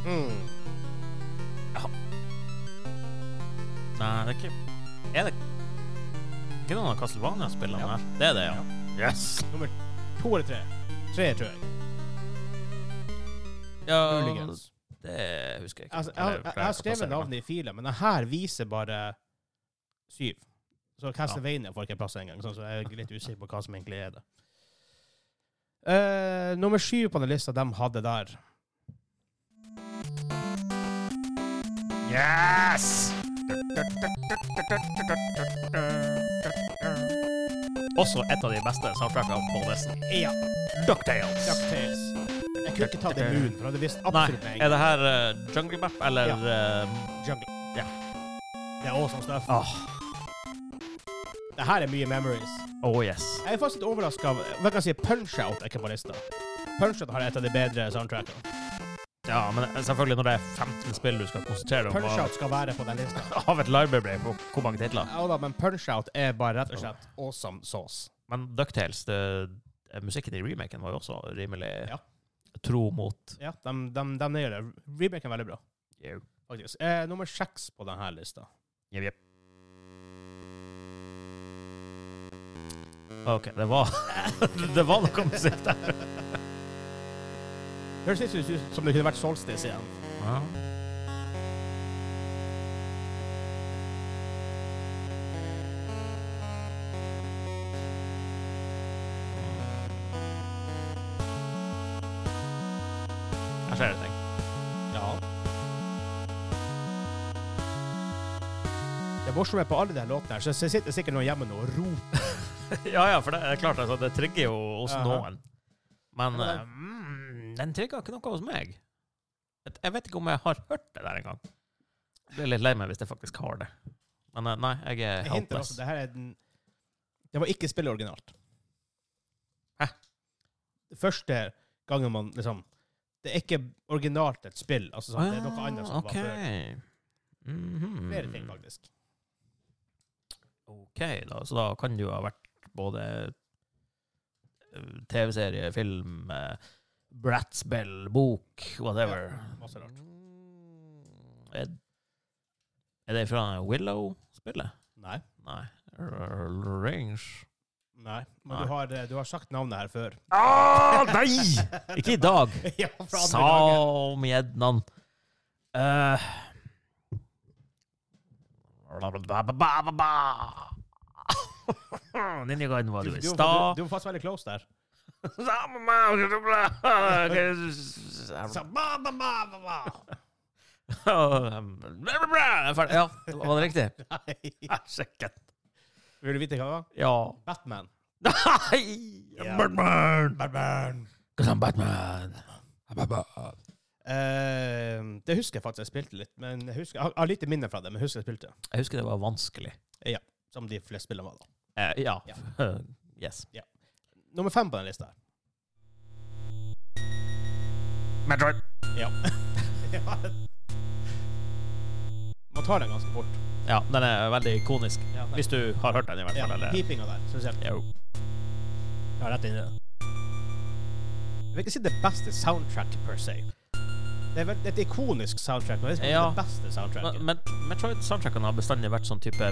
Hmm, Nei, det er ikke Er det ikke noen av Castlevania-spillene her? Det er det, ja. Yes. Nummer to eller tre? Tre, tror jeg. Ja, Muligens. det husker jeg ikke. Altså, jeg, har- jeg, jeg har skrevet navnet i filen, men den her viser bare syv. Så Castlevania får ikke plass engang, sånn, så jeg er litt usikker på hva som egentlig er det. Eh, nummer syv på den lista de hadde der. Yes! Også et av de beste soundtrackene på nesten. Ja, Ducktales. DuckTales. Jeg kunne ikke ta det Moon, for jeg hadde visst Nei, absolutt med en er det her eh, Jungle Map eller Ja. eh, gang. Jungle. Ja. Det er awesome stuff. Åh, Det her er mye memories. Oh, yes. Jeg er faktisk litt overraska av Hva kan jeg si? Punch-Out er ikke på lista. Punch-Out har et av de bedre soundtrackene. Ja, men eh, selvfølgelig når det er 15 spill du skal konsentrere deg om av- Punch-Out skal være på den lista. av et library på hvor mange titler. Ja da, men Punch-Out er bare rett og slett awesome sauce. Men DuckTales, det, eh, musikken i remaken var jo også rimelig Ja. tro mot Ja, de, de, de gjør det. Remaken er veldig bra, Jau. faktisk. Eh, nummer seks på denne lista. Jepp, jepp. OK, det var Det var noe musikk der. Høres litt ut som det kunne vært Solstice igjen. Ja. Her skjer det ting. Ja. Det morsomme på alle de her låtene, her, så så sitter sikkert noen hjemme nå og roper. ja, ja, for det er klart, altså, det trigger jo hos Jaha. noen. Men Ja, eh, mm, den trigger ikke noe hos meg. Et- Jeg vet ikke om jeg har hørt det der engang. Blir litt lei meg hvis jeg faktisk har det. Men eh, nei, jeg er Jeg hinter helpless. også, det her er den Det var ikke spillet originalt. Hæ? Det første gangen man liksom Det er ikke originalt et spill. Altså, sånn, det er noe annet som Ah, var før. ok. Mhm. Flere ting, faktisk. OK, da, så da kan det jo ha vært både eh, TV-serie, film, eh, brettspill, bok, whatever. Ja, masse rart. Mm, Er, er det fra Willow-spillet? Nei. Nei. R- Range Nei. Men Nei. Du, har, eh, du har sagt navnet her før. ah, Nei! Ikke i dag! ja, fra andre dagen. Samjednan. Uh, Ninja Gaiden var Du, jo i du, stad. du, du var faktisk veldig close der. Så, ba, ba, ba, ba, ba. Ferdig. Ja, var det riktig? Nei. Sikkert. Vil du vite hva det var? Ja. Batman. Nei! Ja. Batman! Batman. Batman! Batman. Batman. Eh, det husker jeg faktisk jeg spilte litt. Men jeg, husker, jeg har- jeg har lite minne fra det, men jeg husker jeg spilte. Jeg husker det var vanskelig. Som de fleste spillene var, da. Eh, ja. Ja. yes. Nummer fem på den lista. her. Metroid. Ja. Man tar den ganske fort. Ja, den er veldig ikonisk. Hvis du har hørt den, i hvert ja, fall. Eller? Pipinga der, spesielt. Jo. Ja, rett inn i det. Jeg vil ikke si det beste soundtrack per se. Det er vel det er et ikonisk soundtrack, men det er ikke Ja. det beste soundtracket. Men, men Metroid-soundtrackene har bestandig vært sånn type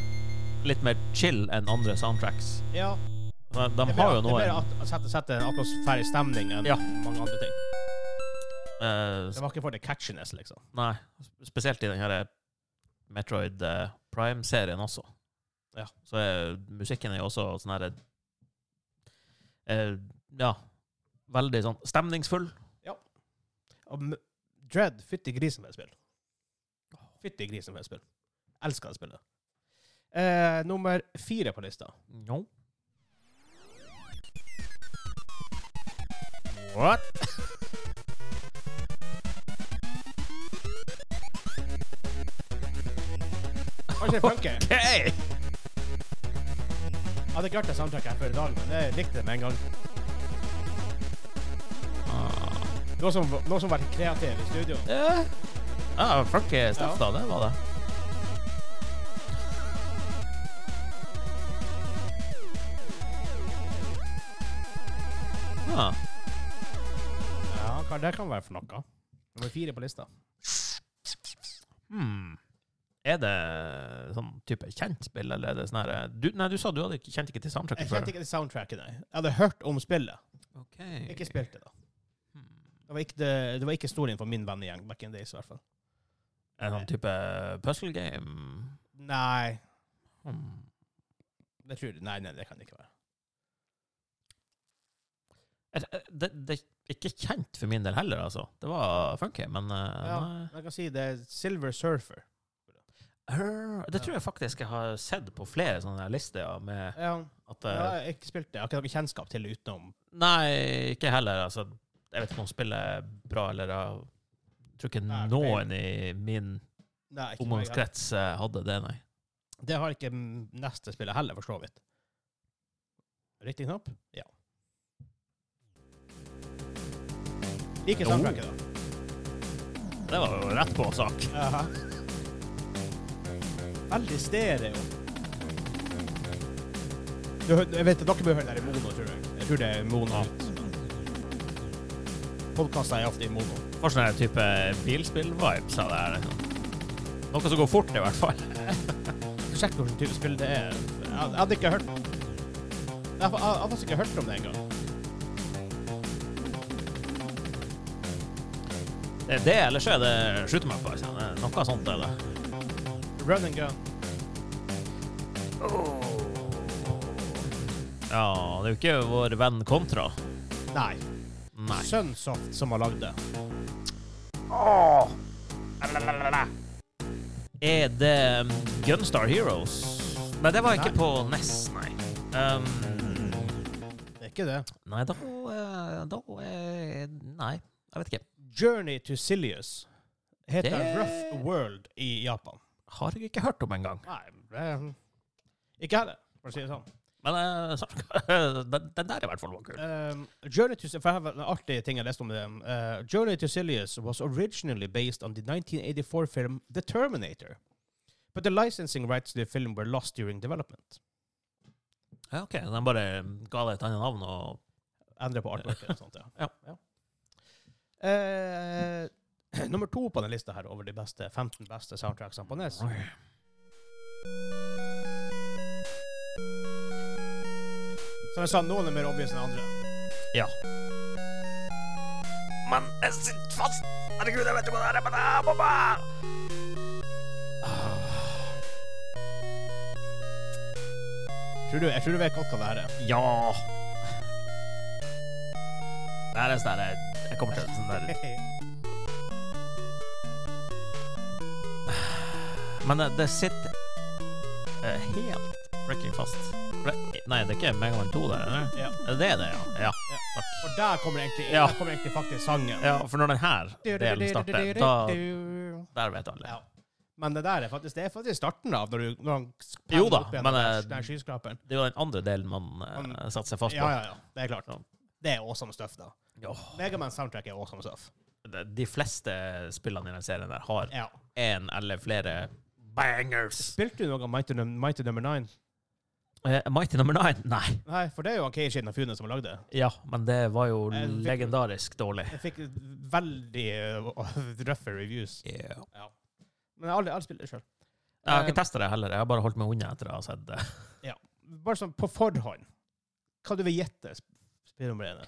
litt mer chill enn andre soundtracks. ja, De, de det er mer- Det har jo er noen mer at- å sette, sette en atmosfærisk stemning enn Ja. mange andre ting. eh, Det var ikke for det catchiness, liksom. Nei, spesielt i den her Metroid eh, Prime-serien også. Ja. Så er, musikken er jo også sånn her eh, Ja, veldig sånn stemningsfull. Og m- Dread, fytti grisen med spill. Fytti grisen med spill. Elsker det spillet. Eh, nummer fire på lista. Jo. What? Kanskje det funker. Hey! Jeg hadde ikke hørt det soundtracket her før i dag, men jeg likte det med en gang. Noe som, noe som var kreativ i studio. Ja, ja funky stuff, da. Det var det. Ja. Ja, hva det kan være for noe. Nummer fire på lista. Hmm. Er det sånn type kjent spill, eller er det sånn her eh, du, Nei, du sa du hadde ikke kjent ikke til soundtracket Jeg før. kjente ikke til soundtracket, nei. Jeg hadde hørt om spillet. Ok. Ikke spilt det, da. Hmm. Det var ikke, det, det var ikke historien for min vennegjeng back in days, i hvert fall. En sånn type puzzle game? Nei, Hmm. det tror jeg Nei, nei, det kan det ikke være. Er Det, det, eh, det er ikke kjent for min del heller, altså. Det var funky, men eh, Ja. nei. Men Jeg kan si det er Silver Surfer. Hør, Det Ja. tror jeg faktisk jeg har sett på flere sånne her lister ja, med Ja, at jeg eh, har ikke spilt det. Jeg har ikke noe kjennskap til det utenom. Nei, ikke heller. Altså, jeg vet ikke om spillet er bra eller jeg Tror ikke Nei, noen i min Nei, ikke noe jeg- omgangskrets eh, hadde det, nei. Det har ikke mm, neste spillet heller, for så vidt. Riktig knapp? Ja. Liker Jo. soundtracket, da. Det var jo rett på sak. Jaha. Veldig stereo. Du, hø- jeg vet at dere bør høre det her i mono, tror jeg. Jeg tror det er mono. Podkaster er ofte i mono. For sånn her type bilspill-vibes av det her. liksom. Noe som går fort, i hvert fall. Sjekk hvilken type spill det er. Jeg jeg hadde ikke hørt Jeg jeg hadde faktisk ikke hørt om det engang. Det er det, eller så er altså. det skytemappa. kjenner jeg. Noe sånt er det. Run and gun. Ja, det er jo ikke vår venn Kontra. Nei. Nei. Sunsoft som har lagd det. er det um, Gunstar Heroes. Nei, det var ikke på NES, nei. Um, Det er ikke det. nei, da, eh, da eh, Nei, jeg vet ikke. Journey to Silius heter Det- Rough World i Japan. Har jeg ikke hørt om engang. Nei, det Ikke heller, for å si det sånn. Men eh, så- den, den der i hvert fall var kul. Um, Journey to for jeg har en artig ting jeg leste om det. Uh, Journey to Silius was originally based on the 1984 film The Terminator. But the licensing rights to the film were lost during development. Ja, OK. Den bare ga det et annet navn og Endre på artworket og sånt, ja. Ja. Eh, nummer to på denne lista her over de beste, 15 beste soundtracksene på NES. Som jeg sa, noen er mer obvious enn andre. Ja. Men jeg sitter fast! Herregud, jeg vet ikke hva det er! Men jeg må bare Tror du, jeg tror du vet godt hva det her er. Ja. Det er det sånn der Jeg kommer til en sånn der Men det, det sitter eh, helt freaking fast. For det- Nei, det er ikke Mega Man 2 der, eller? ja. Det er det, ja. Ja. Ja, takk. Og der kommer egentlig, Ja. der kommer egentlig faktisk sangen. ja for når den her delen starter, da Der vet alle. Ja. Men det der er faktisk, det er faktisk starten av når du når han Jo da, opp igjen men, den eh, der skyskraperen. Det er jo den andre delen man eh, Han- satte seg fast på. Ja, ja, ja. Det er klart. Ja. Det er awesome stuff, da. Åh, Megaman soundtrack er awesome stuff. de- De fleste spillene i den serien der har Ja. én eller flere bangers. Spilte du noe av Mighty, Num- Mighty Number 9? Eh, Mighty number nine? Nei. Nei, for det er jo han Keiichi Nafune som har lagd det. Ja, men det var jo Jeg fikk- legendarisk dårlig. Jeg fikk veldig uh, røffe reviews. Men jeg har aldri, aldri spilt det sjøl. Jeg har ikke testa det heller. Jeg har bare holdt meg unna etter å ha sett det. Bare sånn på forhånd. Hva du vil gjette sp- spillnummeret er?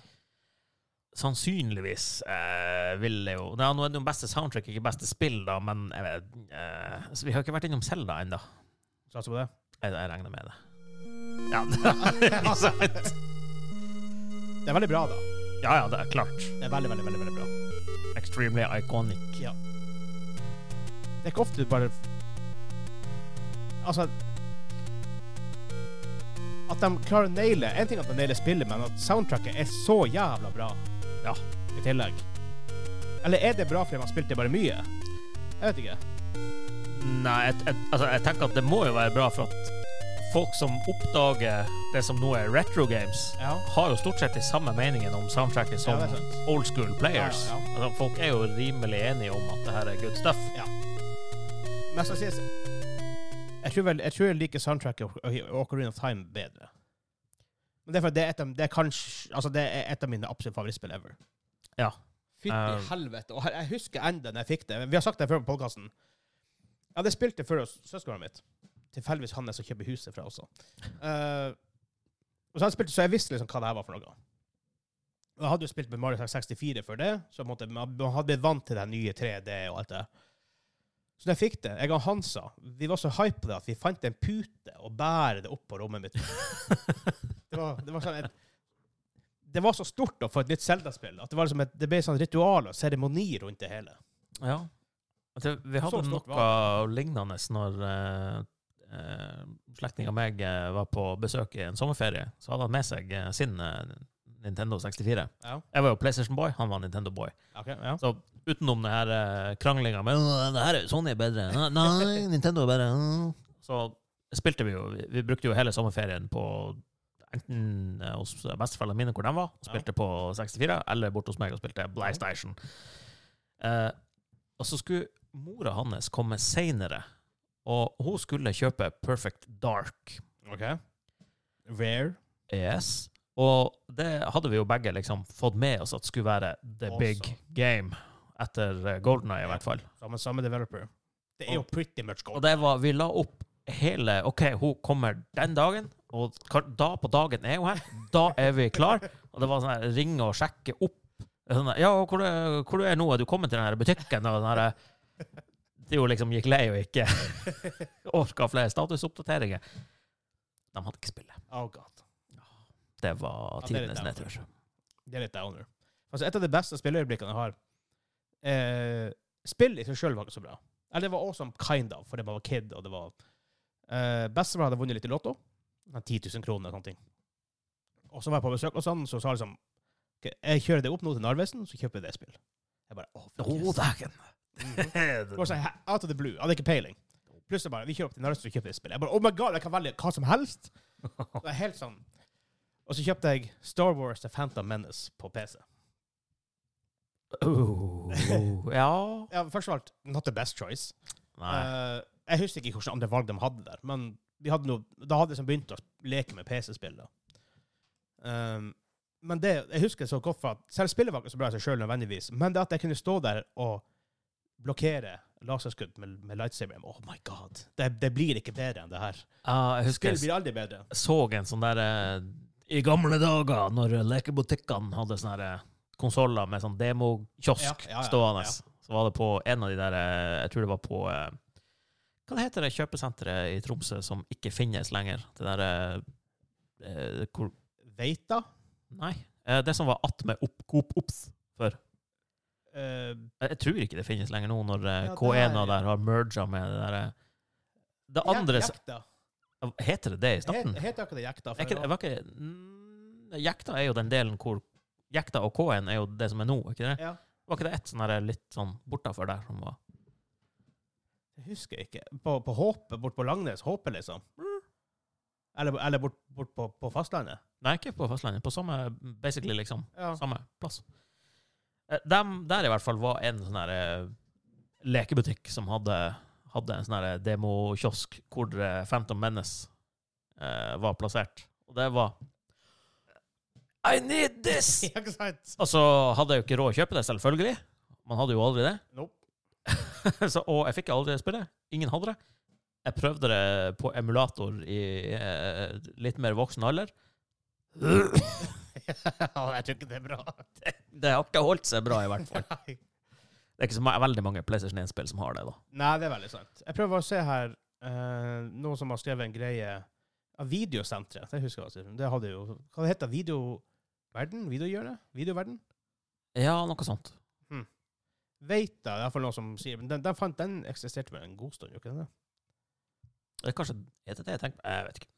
Sannsynligvis eh, vil jeg jo Nei, Nå er det jo beste soundtrack, ikke beste spill, da, men jeg vet, eh, så Vi har ikke vært innom Selda ennå. Satser på det? Jeg, jeg regner med det. Ja, det er ikke sant? Det er veldig bra, da. Ja, ja, det er klart. Det er veldig, veldig, veldig, veldig bra. Extremely iconic. Ja. Det er ikke ofte du bare Altså At de klarer å naile En ting er at de nailer spillet, men at soundtracket er så jævla bra Ja. i tillegg. Eller er det bra fordi man spilte bare mye? Jeg vet ikke. Nei, jeg, jeg, altså, jeg tenker at det må jo være bra for at folk som oppdager det som nå er retro games, Ja. har jo stort sett de samme meningene om soundtracket som Ja, det er sant. old school players. Ja, ja, Altså, folk er jo rimelig enige om at det her er good stuff. Men så sies jeg tror, vel, jeg tror jeg liker soundtracket og- og Ocarina of Time bedre. Men det er fordi det er et av, det er kanskje, altså det er et av mine absolutt favorittspill ever. Ja. Fytti Eh. helvete. Og her- jeg husker enda når jeg fikk det. Vi har sagt det før på podkasten. Jeg hadde spilt det før hos søskenbarnet mitt. Tilfeldigvis han er som kjøper huset fra også. Eh, og så, hadde jeg spilt, så jeg visste liksom hva det her var for noe. Og jeg hadde jo spilt med Mario 64 før det, så på en måte, man man hadde blitt vant til det her nye 3D og alt det. Så da jeg fikk det, jeg og Hansa, vi var så hype på det at vi fant en pute og bærer det opp på rommet mitt. Det var, det var sånn et, det var så stort å få et nytt Zelda-spill at det, var liksom et, det ble sånn ritual og seremoni rundt det hele. ja. At det- vi hadde Så stort noe lignende når eh, eh, slektning av meg eh, var på besøk i en sommerferie. Så hadde han med seg eh, sin eh, Nintendo 64. Ja. Jeg var jo PlayStation-boy, han var Nintendo-boy. Okay, ja. Så utenom det her eh, kranglinga med «Åh, det her er Sony er bedre, Nei, nei, Nintendo er bedre åh». Så spilte vi jo Vi, vi brukte jo hele sommerferien på enten eh, hos besteforeldrene mine, hvor de var, og spilte på 64, eller borte hos meg og spilte PlayStation. Eh, og så skulle mora hans komme seinere, og hun skulle kjøpe Perfect Dark. Ok. Rare. Yes. Og det hadde vi jo begge liksom fått med oss at skulle være the Awesome. big game. Etter eh, GoldenEye i hvert fall. Samme, samme developer. Det er jo pretty much Og gold. det var, vi la opp hele OK, hun kommer den dagen, og ka- da på dagen er hun her. Da er vi klar. Og det var sånn her, ringe og sjekke opp. Sånn der, ja, hvor, er- hvor du er nå? Er du kommet til den her butikken? Og den her, det jo liksom gikk lei og ikke orka flere statusoppdateringer. De hadde ikke spillet. Oh god. Det var Ja, det er litt tidenes down. nedtur. Det er litt downer. Altså, et av de beste spilleøyeblikkene jeg har eh, Spill i seg sjøl var ikke så bra. Eller det var awesome, kind of, fordi man var kid, og det var uh, Bestemor hadde vunnet litt i Lotto. Ja, 10 000 kroner og sånne ting. Og så var jeg på besøk hos han, så sa han liksom «Ok, Jeg kjører det opp nå til Narvesen, så kjøper jeg det spillet. Jeg bare Å, fuck yes. dæken! Det var sånn, out of the blue. Jeg hadde ikke peiling. Plutselig bare Vi kjører opp til Narvesen, så kjøper jeg det spillet. Jeg bare Oh my god, jeg kan velge hva som helst! Det er helt sånn. Og så kjøpte jeg Star Wars The Phantom Menace på PC. Oh, ja Ja, først og alt, not the best choice. Nei. Eh, jeg husker ikke hvilke andre valg de hadde der, men vi hadde noe, da hadde jeg liksom begynt å leke med PC-spill. da. Ehm, men det, jeg husker så godt for at selv spillet var ikke så bra i seg sjøl nødvendigvis, men det at jeg kunne stå der og blokkere laserskudd med, med lightsaberen Oh my god. Det, det blir ikke bedre enn det her. Ja, jeg husker Spill jeg blir aldri bedre. så en sånn der eh, I gamle dager, når lekebutikkene hadde sånne der, eh, konsoller med sånn demokiosk Ja, ja, ja, stående, ja. så var det på en av de der eh, Jeg tror det var på eh, Hva det heter det kjøpesenteret i Tromsø som ikke finnes lenger? Det derre eh, hvor- Veita? Nei. eh, Det som var attmed opp, Coop Ops før. Eh, Jeg jeg tror ikke det finnes lenger nå, når eh, Ja, det K1 er- og der har merga med det derre Det andre jek- som- Jekta. Heter det det i starten? Het- Heter ikke det jekta? Er for ikke, det var- var ikke mm, Jekta er jo den delen hvor Jekta og K1 er jo det som er nå, er ikke det? Ja. Var ikke det ett sånn der litt sånn bortafor der som var Jeg husker ikke. På, på Håpet, bort på Langnes. Håpet, liksom. Eller, eller bort, bort på, på fastlandet. Nei, ikke på fastlandet. På samme basically liksom, Ja. samme plass. Eh, Dem der i hvert fall var en sånn der eh, lekebutikk som hadde, hadde en sånn der demokiosk hvor eh, Phantom Menace eh, var plassert. Og det var I need this! ikke sant? Og så hadde jeg jo ikke råd å kjøpe det, selvfølgelig. Man hadde jo aldri det. Nope. så, og jeg fikk aldri spille. Ingen hadde det. Jeg prøvde det på emulator i eh, litt mer voksen alder. jeg tror ikke det er bra. Det har ikke holdt seg bra, i hvert fall. Nei. Det er ikke så ma- veldig mange PlayStation 1-spill som har det, da. Nei, det er veldig sant. Jeg prøver å se her eh, noen som har skrevet en greie av videosenteret. Det husker jeg. altså. Det hadde jo Hva det heter det? Videoverden? Videohjørnet? Videoverden? Ja, noe sånt. Veita, det er iallfall noen som sier Men den, den, fant, den eksisterte vel en god stund, gjorde ikke den det? Det er kanskje er det det jeg tenker på? Jeg vet ikke.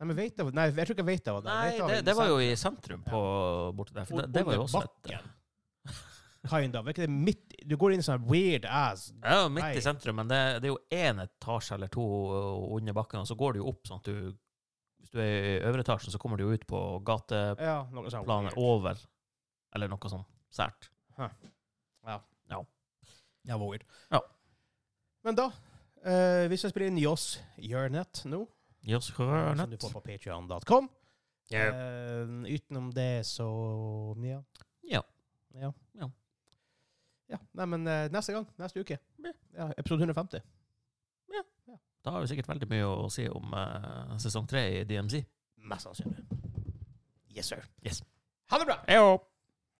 Nei, men Veita Nei, jeg tror ikke Veita var der. Nei, Veita det, vel det var jo senteret. i sentrum på, borti der. For det, det var jo Under også et bakken. Kind of. Er ikke det midt i- Du går inn i sånn weird ass Det er jo midt Nei. i sentrum, men det, det er jo én etasje eller to eh, under bakken, og så går det jo opp sånn at du Hvis du er i øvre etasjen, så kommer du jo ut på gateplanet Ja, noe sånt. over, eller noe sånn sært. Ja, var weird. Ja. Men da, eh, hvis jeg spiller inn Joss Hjørnet nå, Gi oss rødnett. som du får på patreon.com Ja. eh, utenom det, så ja. Ja. Ja. Ja. Ja, Nei, men eh, neste gang. Neste uke. Ja. Ja, episode 150. Da har vi sikkert veldig mye å si om eh, sesong tre i DMC. Mest sannsynlig. Yes, sir. Yes. Ha det bra! Heyo.